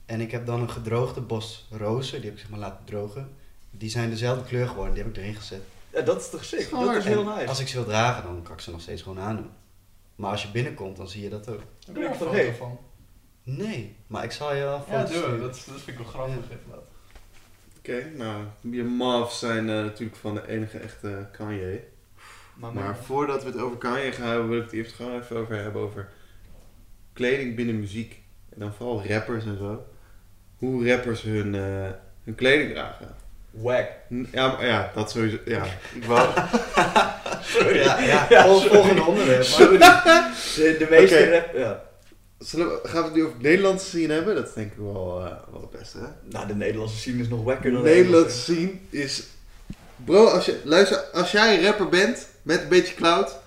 C: En ik heb dan een gedroogde bos rozen, die heb ik zeg maar laten drogen. Die zijn dezelfde kleur geworden, die heb ik erin gezet.
D: Ja, dat is toch sick?
A: Smart.
D: Dat is heel
C: En
D: nice.
C: Als ik ze wil dragen, dan kan ik ze nog steeds gewoon aandoen. Maar als je binnenkomt, dan zie je dat ook.
B: Daar ben ik
D: Ja,
B: foto
D: vergeet.
B: van.
C: Nee, maar ik zal je wel
B: Ja,
C: foto's
B: doe.
C: sturen.
B: Dat, is- dat vind ik wel grappig inderdaad.
A: Oké, nou, je mavs zijn eh, natuurlijk van de enige echte Kanye.
D: Maar,
A: Maar voordat we het over Kanye gaan hebben, wil ik het eerst gewoon even over hebben over kleding binnen muziek. En dan vooral rappers en zo. Hoe rappers hun, eh, hun kleding dragen.
D: Wack.
A: N- Ja, maar, ja, dat sowieso. Ja, ik wou,
C: Ja, ja, vol- volgende onderwerp. maar-
D: De, de meeste
A: Oké.
D: rap... Ja.
A: Zullen we, gaan we het nu over het Nederlandse scene hebben? Dat is denk ik wel, eh, wel het beste, hè?
D: Nou, de Nederlandse scene is nog wacker
A: De
D: dan
A: Nederlandse scene is... Bro, als, je, luister, als jij een rapper bent met een beetje clout,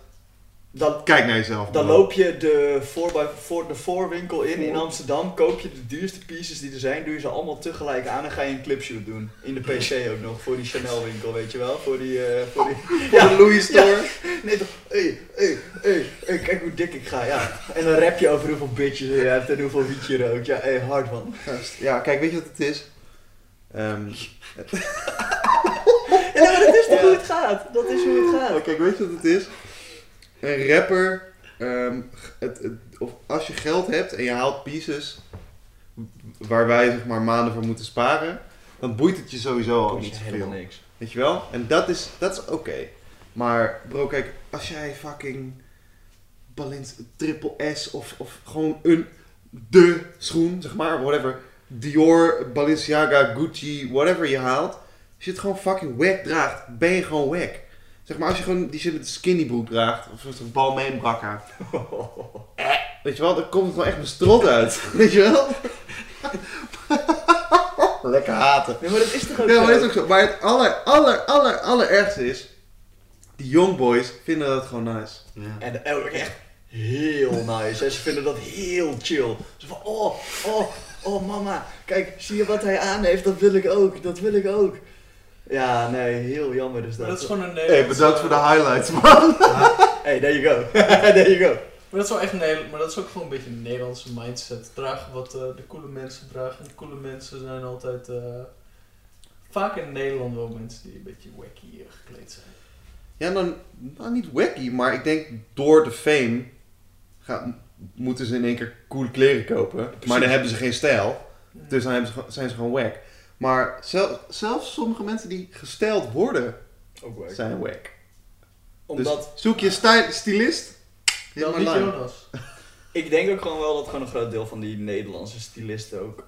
D: Dan,
A: Kijk naar jezelf.
D: dan
A: man.
D: loop je de, voor, bij, voor, de voorwinkel in in Amsterdam, koop je de duurste pieces die er zijn, doe je ze allemaal tegelijk aan en ga je een clipshoot doen. In de PC ook nog, voor die Chanel winkel, weet je wel. Voor die, eh, voor die ja, Louis Store. Nee toch, hey, hey, hey, hey, kijk hoe dik ik ga, ja. En dan rap je over hoeveel bitches je hebt en hoeveel wiet je rookt. Ja, hey, hard man.
A: Ja, kijk, weet je wat het is? Ehm,
D: Ja, maar dat is toch hoe het gaat? Dat is hoe het
A: Maar
D: gaat.
A: kijk, weet je wat het is? Een rapper, ehm, het, het- of als je geld hebt en je haalt pieces waar wij zeg maar maanden voor moeten sparen, dan boeit het je sowieso al
D: Kost je
A: niet zoveel.
D: niks.
A: Weet je wel? En dat is, dat is oké. Maar bro, kijk, als jij fucking Balint triple S of, of gewoon een de schoen, zeg maar, whatever. Dior, Balenciaga, Gucci, whatever je haalt. Als je het gewoon fucking wack draagt, ben je gewoon wack. Zeg maar, als je gewoon die shit met een skinny broek draagt, of zo'n balmeen brakka. Eh, Weet je wel, dan komt het gewoon echt een strot uit. Weet je wel? Lekker haten.
D: Nee, maar dat is toch ook
A: Ja, maar dat
D: zo?
A: is ook zo. Maar het aller, aller, aller, allerergste is... Die jongboys vinden dat gewoon nice.
C: Ja.
D: En dat ook echt heel nice. En ze vinden dat heel chill. Ze van, oh, oh, oh mama, kijk, zie je wat hij aan heeft? Dat wil ik ook, dat wil ik ook. Ja, nee, heel jammer dus dat.
B: Maar dat is gewoon een
A: Hé, hey,
B: Nederlandse...
A: bedankt voor de highlights, man.
D: Hey, there you go. there you go.
B: Maar dat is wel echt een hele- maar dat is ook gewoon een beetje een Nederlandse mindset. Dragen wat eh, de coole mensen dragen. En coole mensen zijn altijd eh, vaak in Nederland wel mensen die een beetje wacky eh, gekleed zijn.
A: Ja, dan... Nou, niet wacky, maar ik denk door de fame... Gaan, moeten ze in één keer coole kleren kopen. Maar dan hebben ze geen stijl. Dus dan hebben ze, gewoon- zijn ze gewoon wack. Maar zelf, zelfs sommige mensen die gestyled worden,
D: Ook wack.
A: zijn wack.
D: Omdat
A: Dus zoek je stijl, stylist... hit
B: Dan
A: my
B: niet
A: line.
B: Jonas.
D: ik denk ook gewoon wel dat gewoon een groot deel van die Nederlandse stylisten ook.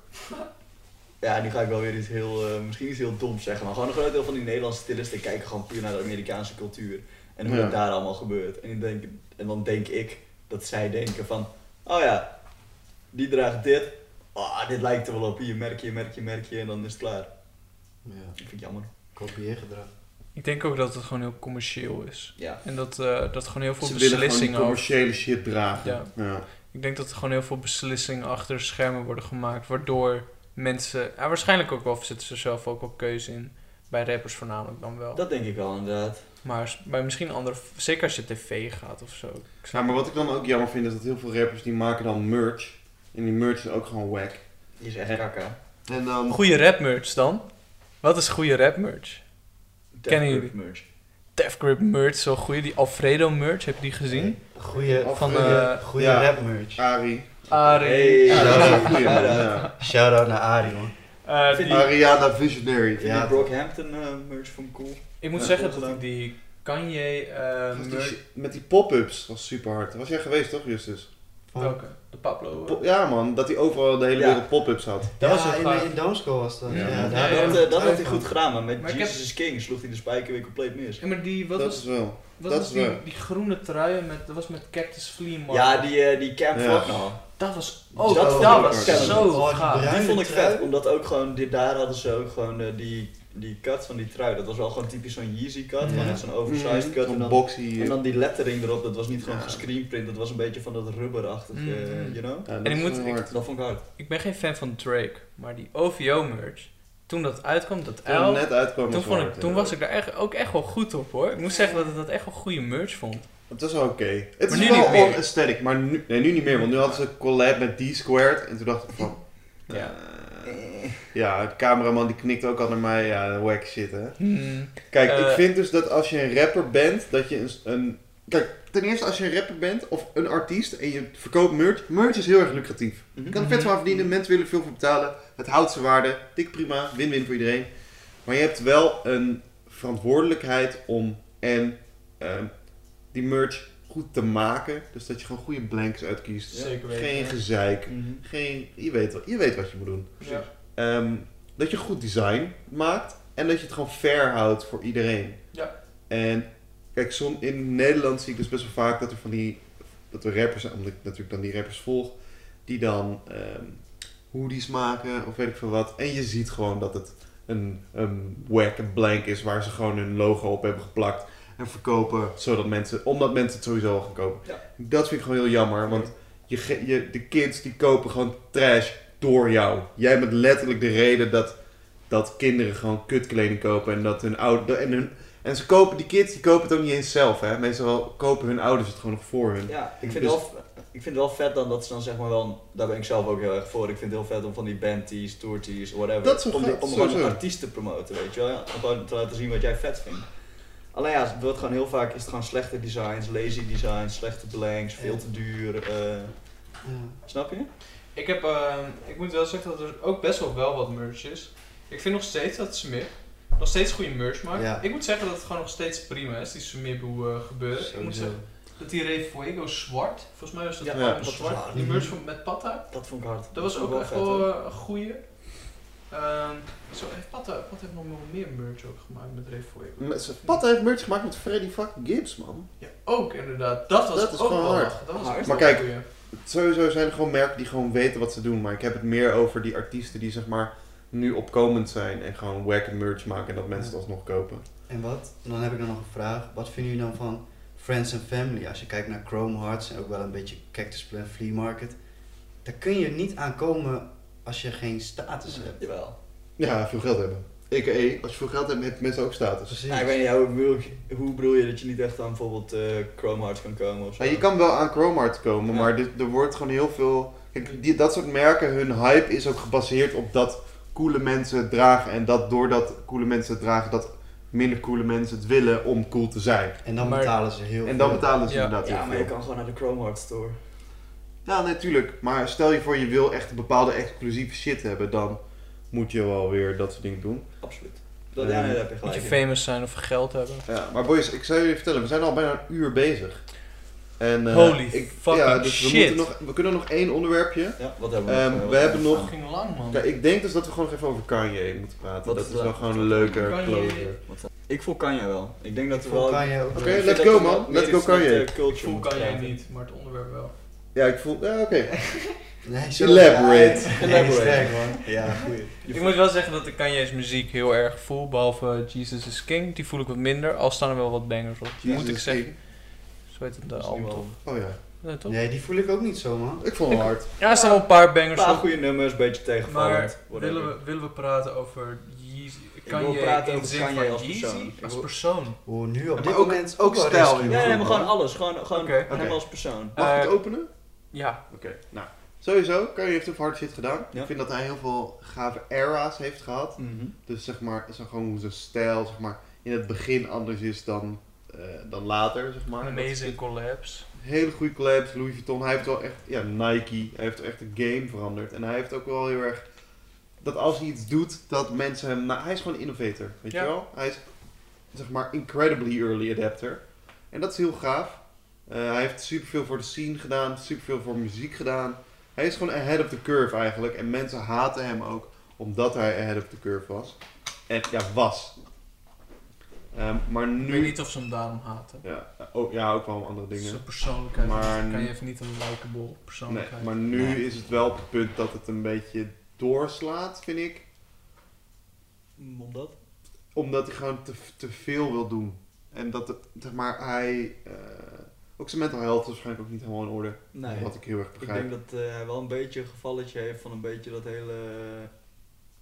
D: Ja, nu ga ik wel weer iets heel, eh, misschien iets heel doms zeggen, maar gewoon een groot deel van die Nederlandse stylisten kijken gewoon puur naar de Amerikaanse cultuur en hoe
A: Ja.
D: het daar allemaal gebeurt. En, ik denk, en dan denk ik dat zij denken van, oh ja, die draagt dit, oh, dit lijkt er wel op, hier merk je, merk je, merk je en dan is het klaar.
C: ja.
D: Dat vind ik jammer.
C: Kopieergedrag.
B: Ik denk ook dat het gewoon heel commercieel is.
D: Ja.
B: En dat, eh, dat gewoon heel
A: Ze willen gewoon die commerciële shit dragen.
B: Ja.
A: ja.
B: Ik denk dat er gewoon heel veel beslissingen achter schermen worden gemaakt, waardoor mensen, ja, waarschijnlijk ook wel zitten ze zelf ook op keuze in, bij rappers voornamelijk dan wel.
D: Dat denk ik wel inderdaad.
B: Maar s- bij misschien andere, zeker als je tv gaat of zo. Ik
A: Ja,
B: snap-
A: maar wat ik dan ook jammer vind is dat heel veel rappers die maken dan merch. En die merch is ook gewoon whack.
D: Die is echt kakka.
A: En dan...
B: Goede rap merch dan? Wat is goede rap merch? Kennen jullie?
D: Merch.
B: Death Grip merch, zo goede. Die Alfredo merch, heb je die gezien?
C: Goeie,
B: Van,
C: goeie,
B: eh,
C: goeie
A: ja.
C: rap merch.
A: Ari.
B: Arie.
A: Ja, dat is
C: Ja.
A: een goeie man. Ja.
C: Shout-out naar Arie, man.
B: Eh, die-
A: Ariana Visionary.
D: Vind je
C: Ja,
D: die Brockhampton eh, merch van cool?
B: ik moet
A: Ja,
B: zeggen
D: goed
B: dat ik
D: gedaan.
B: die Kanye eh
A: Dat was die
B: merch...
A: shit- met die pop-ups was super hard. Was jij geweest toch, Justus?
C: Van-
B: Welke? De Pablo. eh.
A: Po- ja man, dat hij overal de hele
D: Ja.
A: wereld pop-ups had.
B: Dat
C: ja,
B: was wel
C: in,
B: gaaf.
C: in Damschool was dat.
A: Ja.
C: Ja,
A: Ja,
C: daar
B: ja,
C: hadden
D: dat
C: we
D: eh, dat had
C: het
D: hij goed gedaan, maar met
B: Maar ik
D: Jesus is King sloeg hij de spijker weer compleet mis.
B: Ja, maar die, wat
A: dat
B: was,
A: is wel.
B: wat
A: dat
B: was
A: is
B: die,
A: waar.
B: die groene trui met, dat was met Cactus Flea Market.
D: Ja, die, eh, die Camp
A: Ja.
D: Flagnall.
B: Dat was, oh,
D: Dat
B: dat,
D: vond
B: dat
D: ik
B: was
D: ook
B: zo
C: leuk. Oh,
B: gaaf.
C: bruine
D: Die vond ik
C: trui.
D: vet, omdat ook gewoon, dit, daar hadden ze ook gewoon eh, die, die cut van die trui. Dat was wel gewoon typisch zo'n Yeezy cut,
C: Ja.
D: gewoon echt zo'n oversized cut. En
A: Mhm. Zo'n
D: dan,
A: boxy.
D: en dan die lettering erop, dat was niet gewoon
A: Mm. Ja.
D: gescreenprint, dat was een beetje van dat rubberachtig, eh,
B: Mhm.
D: you know?
A: Ja, dat
B: En ik
A: is
B: moet-
A: wel
B: ik-
A: hard.
D: Dat vond ik hard.
B: Ik ben geen fan van Drake, maar die OVO-merch, toen dat uitkwam, dat
A: Toen eh, het
B: L,
A: net uitkwam
B: toen,
A: was wel
B: vond ik,
A: hard,
B: toen
A: ja.
B: was ik daar echt, ook echt wel goed op hoor. Ik moet zeggen dat ik dat echt wel goede merch vond.
A: Het was wel oké. Het
B: Maar
A: is
B: nu
A: wel
B: niet meer.
A: on-aesthetic, maar nu, nee, nu niet meer. Want nu hadden ze een collab met D-Squared. En toen dacht ik van...
B: Ja.
A: eh, ja, de cameraman die knikt ook al naar mij. Ja, wack shit hè.
B: Hmm.
A: Kijk,
B: Eh.
A: ik vind dus dat als je een rapper bent, dat je een... een- kijk, ten eerste als je een rapper bent of een artiest en je verkoopt merch. Merch is heel erg lucratief.
D: Mhm.
A: Je kan er vet van verdienen,
B: Mm.
A: mensen willen er veel voor betalen. Het houdt zijn waarde. Dik prima, win-win voor iedereen. Maar je hebt wel een verantwoordelijkheid om en ehm, die merch goed te maken. Dus dat je gewoon goede blanks uitkiest.
D: Ja.
B: Zeker weten.
A: Geen
B: ja.
A: gezeik.
D: Mhm.
A: Geen, je, weet, wat- je weet wat je moet doen.
B: Ja.
A: Ehm, dat je goed design maakt en dat je het gewoon fair houdt voor iedereen.
B: Ja.
A: En kijk, som, in Nederland zie ik dus best wel vaak dat er van die dat er rappers zijn, omdat ik natuurlijk dan die rappers volg, die dan ehm hoodies maken of weet ik veel wat. En je ziet gewoon dat het een, een whack en blank is waar ze gewoon hun logo op hebben geplakt. en verkopen. Zodat mensen, omdat mensen het sowieso al gaan kopen.
D: Ja.
A: Dat vind ik gewoon heel jammer. Want je, ge- je, de kids die kopen gewoon trash door jou. Jij bent letterlijk de reden dat, dat kinderen gewoon kutkleding kopen. En, dat hun oude, en, hun, en ze kopen, die kids die kopen het ook niet eens zelf. Hè? Meestal kopen hun ouders het gewoon nog voor hun.
D: Ja, ik vind,
A: Dus-
D: wel, ik vind het wel vet dan dat ze dan zeg maar wel, een- daar ben ik zelf ook heel erg voor. Ik vind het heel vet om van die bandtees, tourtees, whatever.
A: Dat is wel
D: om
A: vet,
D: die- om gewoon een
A: sowieso.
D: artiest te promoten, weet je wel. Ja, om gewoon te laten zien wat jij vet vindt. Alleen ja, het wordt gewoon heel vaak is het gewoon slechte designs, lazy designs, slechte blanks, veel te duur. eh,
C: Ja.
D: snap je?
B: Ik, heb, eh, ik moet wel zeggen dat er ook best wel wel wat merch is. Ik vind nog steeds dat Smip nog steeds goede merch maakt.
C: Ja.
B: Ik moet zeggen dat het gewoon nog steeds prima is, die Smip hoe eh, gebeuren. Ik moet
C: Sowieso.
B: zeggen dat die Refuego zwart, volgens mij was dat
D: Ja,
B: gewoon
A: ja.
B: een zwart.
C: Zwart.
B: Die merch van, met Patta,
D: Dat vond ik hard.
B: dat was
D: vond ik
B: ook echt
D: vet, hoor.
B: wel eh, een goeie. Ehm, zo, heeft Patta, Patta heeft nog wel meer merch ook gemaakt met Refuego.
A: Pat heeft merch gemaakt met Freddy fucking Gibbs, man.
B: Ja, ook inderdaad. Dat was
A: Dat is
B: ook
A: gewoon
B: wel
A: hard.
B: lachen. Dat was
D: Hard.
B: echt
A: Maar
B: wel een
A: kijk,
B: goeie.
A: Sowieso zijn er gewoon merken die gewoon weten wat ze doen. Maar ik heb het meer over die artiesten die zeg maar nu opkomend zijn. En gewoon wack merch maken en dat mensen het alsnog kopen.
C: En wat? En dan heb ik dan nog een vraag. Wat vinden jullie dan van Friends and Family? Als je kijkt naar Chrome Hearts en ook wel een beetje Cactus Plant Flea Market. Daar kun je niet aan komen als je geen status hebt.
D: Jawel.
A: Ja, veel geld hebben. A.k.a. als je veel geld hebt, heb je mensen ook status.
C: Precies.
D: Ja, ik weet niet, ja, hoe, bedoel, ik- hoe bedoel je dat je niet echt aan bijvoorbeeld eh Chrome Hearts kan komen of zo?
A: Ja, je kan wel aan Chromart komen,
D: Ja.
A: maar dit, er wordt gewoon heel veel... Kijk, die, dat soort merken, hun hype is ook gebaseerd op dat coole mensen het dragen. En dat doordat coole mensen het dragen, dat minder coole mensen het willen om cool te zijn.
C: En dan
B: Maar-
C: betalen ze heel
A: En dan
C: veel.
A: betalen ze
B: Ja.
A: inderdaad heel
D: Ja, maar je
A: veel.
D: kan gewoon naar de Chrome Hearts store.
A: Ja, Nou, natuurlijk. Maar stel je voor, je wil echt een bepaalde exclusieve shit hebben, dan moet je wel weer dat soort dingen doen.
D: Absoluut. Dat, ja, nee, daar heb je gelijk. in.
B: famous zijn of geld hebben.
A: Ja, maar boys, ik zou jullie vertellen, we zijn al bijna een uur bezig. En, eh,
B: Holy
A: ik,
B: fucking
A: ja, dus
B: shit.
A: We, moeten nog, we kunnen nog één onderwerpje.
D: Ja, wat hebben we
A: Ehm,
D: nog?
A: we hebben nog-
B: Fucking lang man.
A: Kijk, ik denk dus dat we gewoon nog even over Kanye moeten praten.
D: Wat
A: dat
D: is
A: is
D: dat?
A: wel gewoon een leuker
B: Kanye.
A: closer.
D: Ik voel Kanye wel. Ik denk dat we wel...
C: Voor kan je ook
A: Oké,
D: Ik vind
A: let's
D: dat
A: go,
D: we wel
A: man.
D: meer
A: Let's go,
D: iets met,
A: Kanye.
D: eh, culture
B: Ik voel
D: moeten
B: kan jij
D: praten.
B: niet, maar het onderwerp wel.
A: Ja, ik voel... Ja, oké.
C: Nee,
A: Elaborate.
C: Ja,
D: Elaborate.
C: Elaborate. Sterk, man. Ja, goed.
D: Je
B: Ik
D: voelt-
B: moet wel zeggen dat ik Kanye's muziek heel erg voel, behalve eh, Jesus is King. Die voel ik wat minder, al staan er wel wat bangers op. moet ik
A: Jesus
B: zeggen.
A: King.
B: Zo heet het, de
D: Dat is nu
B: album
D: wel
B: toch?
D: een
A: Oh ja.
B: Nee, toch?
C: Nee, die voel ik ook niet zo, man.
A: Ik vond hem hard.
B: Ja, er staan wel een paar bangers
D: paar
B: op.
D: goede nummers, een beetje
B: Maar
D: tegenvallend. whatever.
B: willen we, willen we praten over Yeezy?
D: wil
B: Kanye
D: praten
B: in
D: over
B: zin
D: Kanye
B: van
D: als
B: Yeezy?
D: persoon. Ik
B: Als
D: wil-
B: persoon.
C: Oh, nu
A: Ja,
C: op dit
A: maar ook-
C: moment
A: ook
C: wel
A: stijl,
C: risky,
A: joh.
D: Nee, nee,
C: man.
D: maar gewoon alles. Gewoon, gewoon
B: Oké.
D: hem
A: Oké.
D: als persoon.
A: Mag ik
B: Eh,
A: het openen?
B: Ja.
A: Oké, nou. Sowieso, Kanye heeft heel veel hard shit gedaan.
D: Ja.
A: Ik vind dat hij heel veel gave era's heeft gehad.
D: Mhm.
A: Dus zeg maar, zo gewoon hoe zijn stijl zeg maar, in het begin anders is dan, eh, dan later, zeg maar.
B: Amazing Collapse.
A: Hele goede collabs, Louis Vuitton. Hij heeft wel echt, ja, Nike. Hij heeft echt de game veranderd. En hij heeft ook wel heel erg, dat als hij iets doet, dat mensen hem... na- hij is gewoon een innovator, weet
B: Ja.
A: je wel? Hij is, zeg maar, incredibly early adapter. En dat is heel gaaf. Eh, hij heeft superveel voor de scene gedaan, superveel voor muziek gedaan. Hij is gewoon ahead of the curve eigenlijk. En mensen haten hem ook omdat hij ahead of the curve was. En ja, was. Ehm, maar
B: Ik weet
A: nu...
B: niet of ze hem daarom haten.
A: Ja, ook, ja, ook wel andere dingen.
B: Zijn persoonlijkheid.
A: Maar
B: Kanye
A: nu-
B: heeft niet een likable
A: Mhm. Nee,
B: persoonlijkheid.
A: maar nu is het wel op het punt dat het een beetje doorslaat, vind ik.
D: Omdat?
A: Omdat hij gewoon te, te veel wil doen. En dat, het, zeg maar, hij... eh, ook zijn mental health is waarschijnlijk ook niet helemaal in orde.
D: Nee.
A: Wat ik heel erg
D: Ik
A: begrijp.
D: denk dat eh, hij wel een beetje een gevalletje heeft van een beetje dat hele eh,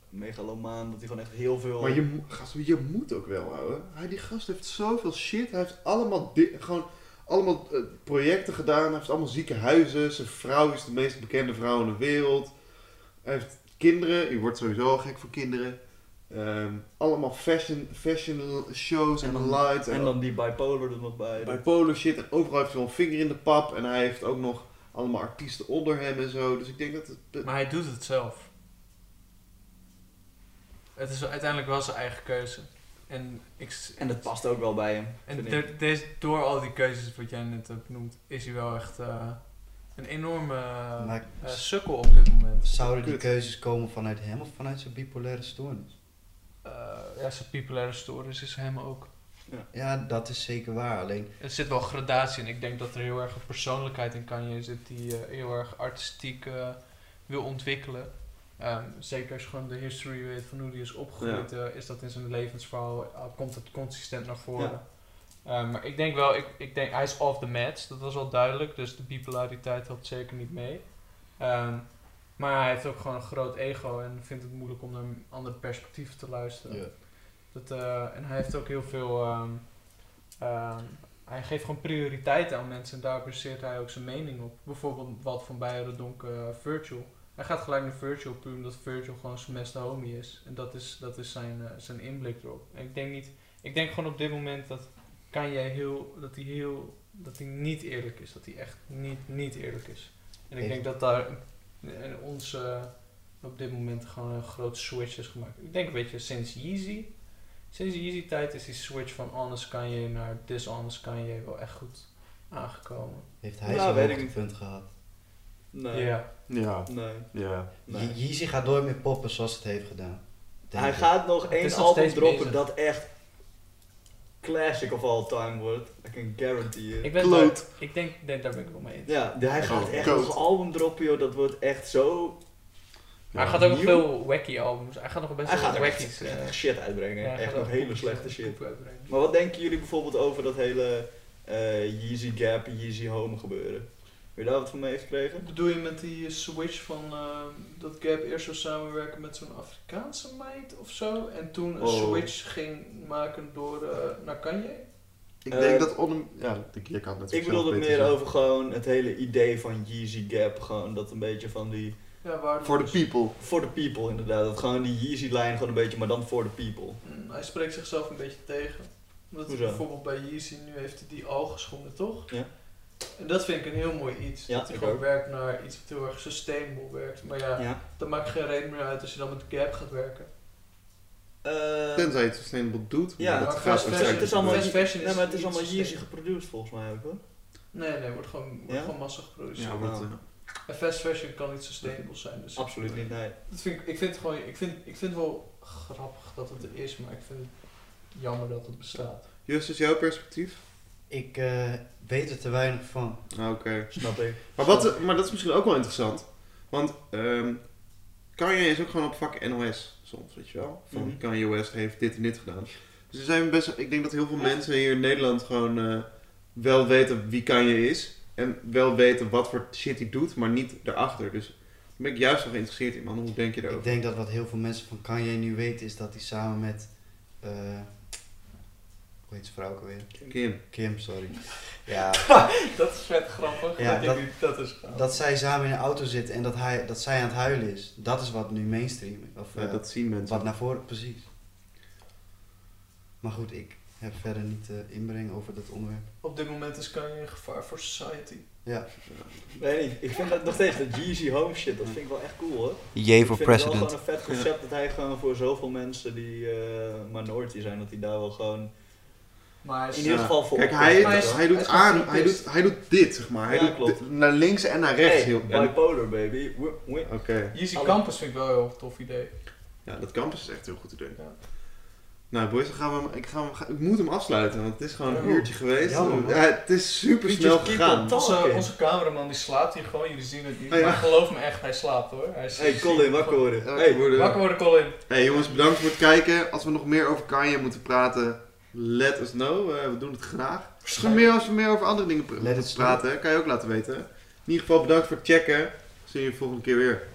D: megalomaan. Dat hij gewoon echt heel veel...
A: Maar je, mo- gast, je moet ook wel, ouwe. Hij, die gast heeft zoveel shit. Hij heeft allemaal, di- gewoon, allemaal eh, projecten gedaan. Hij heeft allemaal ziekenhuizen. Zijn vrouw is de meest bekende vrouw in de wereld. Hij heeft kinderen. Je wordt sowieso al gek voor kinderen. Ehm, allemaal fashion, fashion shows en,
D: En dan-
A: lights.
D: En dan die bipolar er nog bij.
A: bij Polo shit. En overal heeft hij wel een vinger in de pap. En hij heeft ook nog allemaal artiesten onder hem en zo. Dus ik denk dat... Het,
B: Maar hij doet het zelf. Het is uiteindelijk wel zijn eigen keuze. En, ik,
D: En dat past ook wel bij hem.
B: en
D: vind ik.
B: de- deze, door al die keuzes wat jij net hebt benoemd, is hij wel echt eh, een enorme eh,
C: Maar
B: eh, sukkel op dit moment.
C: zouden die
A: Kut.
C: keuzes komen vanuit hem of vanuit zijn bipolaire stoornis?
B: Eh, ja, zijn bipolaire stoornis is hem ook.
C: Ja, dat is zeker waar. Alleen,
B: Er zit wel gradatie in. Ik denk dat er heel erg een persoonlijkheid in Kanye zit die eh, heel erg artistiek eh, wil ontwikkelen. Ehm, zeker als je gewoon de history weet van hoe die is opgegroeid, eh, is dat in zijn levensverhaal, eh, komt het consistent naar voren. Eh, maar ik denk wel, ik, ik denk, hij is off the match, dat was al duidelijk. Dus de bipolariteit helpt zeker niet mee. Ehm, maar hij heeft ook gewoon een groot ego en vindt het moeilijk om naar andere perspectieven te luisteren.
E: Ja.
B: Dat, eh, en hij heeft ook heel veel. ehm, ehm, hij geeft gewoon prioriteiten aan mensen en daar baseert hij ook zijn mening op. Bijvoorbeeld wat van Beijerodonk eh Virtual. Hij gaat gelijk naar Virtual puur omdat Virtual gewoon zijn beste homie is. En dat is, dat is zijn, eh, zijn inblik erop. En ik denk niet. Ik denk gewoon op dit moment dat Kanye heel. dat hij heel. dat hij niet eerlijk is. Dat hij echt niet, niet eerlijk is. En ik
C: Eens.
B: denk dat daar in ons eh, op dit moment gewoon een grote switch is gemaakt. Ik denk een beetje sinds Yeezy. Sinds de Yeezy tijd is die switch van honest Kanye naar dishonest Kanye wel echt goed aangekomen.
C: Heeft
D: Nou,
C: hij zo'n
D: weet ik
C: hoogtepunt gehad?
D: Nee.
B: Ja.
A: Ja,
D: Nee.
A: ja.
D: nee.
C: Je- Yeezy gaat nooit meer poppen zoals het heeft gedaan. Denk
D: Hij
C: ik.
D: gaat nog
B: Het
D: één
B: is nog
D: album
B: steeds bezig.
D: droppen dat echt classic of all time wordt. I can guarantee you.
B: Ik, ben daar,
A: Kloot.
B: ik denk, nee, daar ben ik wel mee eens.
D: Ja, de- hij gaat
A: Oh,
D: echt
A: koud.
D: nog een album droppen, joh. Dat wordt echt zo...
B: Maar hij gaat ook nog
D: nieuw.
B: veel wacky albums. Hij gaat nog best
D: Hij
B: wel
D: gaat
B: wat wackies.
D: echt,
B: eh,
D: echt shit uitbrengen.
B: ja, hij
D: echt
B: gaat
D: nog
B: ook
D: hele
B: poep-
D: slechte shit.
B: poep uitbrengen.
D: Maar wat denken jullie bijvoorbeeld over dat hele eh, Yeezy Gap en Yeezy Home gebeuren? Heb je daar wat van meegekregen?
B: Bedoel je met die eh, switch van ehm, dat Gap eerst zou samenwerken met zo'n Afrikaanse meid of zo? En toen een
A: Oh. switch
B: ging maken door eh, naar Kanye?
A: Ik
D: Eh,
A: denk dat on... Ja, de keer kan het
D: Ik
A: zelf
D: bedoel het
A: beter
D: meer
A: zeggen.
D: over gewoon het hele idee van Yeezy Gap. Gewoon dat een beetje van die...
B: Ja, waar dus-
A: For the people.
D: For the people inderdaad. Dat gewoon die Yeezy-lijn gewoon een beetje, maar dan for the people.
B: Mm, Hij spreekt zichzelf een beetje tegen. Omdat hij
D: Hoezo?
B: bijvoorbeeld bij Yeezy nu heeft hij die algeschonden, toch?
D: Ja.
B: En dat vind ik een heel mooi iets.
D: Ja,
B: dat hij
D: ik
B: gewoon
D: ook.
B: werkt naar iets wat heel erg sustainable werkt. Maar ja,
D: Ja.
B: dat maakt geen reden meer uit als je dan met Gap gaat werken.
D: Eh,
A: Tenzij je het sustainable doet. maar
D: ja,
A: dat
B: maar
A: gaat
B: fast
A: waarschijnlijk
D: het is
A: niet
D: allemaal,
A: gebeuren.
B: Fast fashion
D: nee,
B: is
D: maar het is
B: niet
D: allemaal Yeezy
B: sustainable.
D: geproduceerd volgens mij ook hoor.
B: Nee, nee, wordt gewoon, wordt
D: Ja?
B: gewoon massa geproduceerd.
A: Ja, wordt, eh,
B: En fast fashion kan niet sustainable zijn. Dus
D: Absoluut niet, nee.
B: Dat vind ik, ik vind het gewoon, ik vind, ik vind het wel grappig dat het er is, maar ik vind het jammer dat het bestaat.
A: Justus, jouw perspectief?
C: Ik eh, weet er te weinig van.
A: Ah, Oké.
D: Snap ik.
A: Maar, wat, eh, maar dat is misschien ook wel interessant. Want ehm Kanye is ook gewoon op vak NOS soms, weet je wel. Van
D: Mhm.
A: Kanye West heeft dit en dit gedaan. Dus er zijn best, ik denk dat heel veel mensen hier in Nederland gewoon eh, wel weten wie Kanye is. En wel weten wat voor shit hij doet, maar niet daarachter. Dus daar ben ik juist wel geïnteresseerd in, man. Hoe denk je
C: Ik
A: daarover?
C: denk dat wat heel veel mensen van Kanye nu weten is dat hij samen met. eh, hoe heet zijn vrouw ook alweer?
A: Kim.
C: Kim, sorry. Ja,
B: Dat is vet grappig.
C: Ja, dat-
B: dat is grappig.
C: dat zij samen in een auto zitten en dat, hij, dat zij aan het huilen is. Dat is wat nu mainstream is. Of
A: Ja,
C: eh,
A: dat zien mensen.
C: wat naar voren, precies. Maar goed, ik heb verder niet eh, inbreng over dat onderwerp.
B: Op dit moment is Kanye een gevaar voor society.
D: Nee, niet. ik vind dat nog steeds, dat Yeezy home shit, dat vind ik wel echt cool hoor.
C: Jee
D: ik vind het wel gewoon een vet concept dat hij gewoon voor zoveel mensen die eh minority zijn, dat hij daar wel gewoon
B: Maar hij
D: in
B: is-
D: ieder geval voor
A: Kijk,
D: op-
A: hij,
B: Maar hij is-
A: hij
B: hij
A: doet
B: is
A: aan,
B: gewoon
A: hij doet, hij doet dit, zeg maar. Hij
D: Ja,
A: doet
D: klopt.
A: d- naar links en naar rechts.
D: Hey,
A: heel, en-
D: bipolar baby. Wi- wi-
A: Oké.
B: Yeezy
D: Alle-
B: Campus vind ik wel een heel tof idee.
A: Ja, dat campus is echt heel goed te doen.
B: Ja.
A: Nou, boys, dan gaan we hem, ik, ga hem, ga- ik moet hem afsluiten, want het is gewoon een
C: Oh,
A: uurtje geweest.
C: jammer, man.
A: ja, het is super snel
D: We just keep
A: gegaan.
D: on top.
B: Onze,
D: Oké.
B: onze cameraman die slaapt hier gewoon, jullie zien het niet.
A: Oh ja.
B: Maar geloof me echt, hij slaapt hoor. Hij is-
D: Hey Colin, wakker worden.
A: Ja,
D: Hey,
A: worden-
B: Wakker worden Colin.
A: Hey jongens, bedankt voor het kijken. Als we nog meer over Kanye moeten praten, let us know. Eh, we doen het graag. Als we, meer, als we meer over andere dingen pr-
C: Let us
A: praten, kan je ook laten weten. In ieder geval bedankt voor het checken. Zie je volgende keer weer.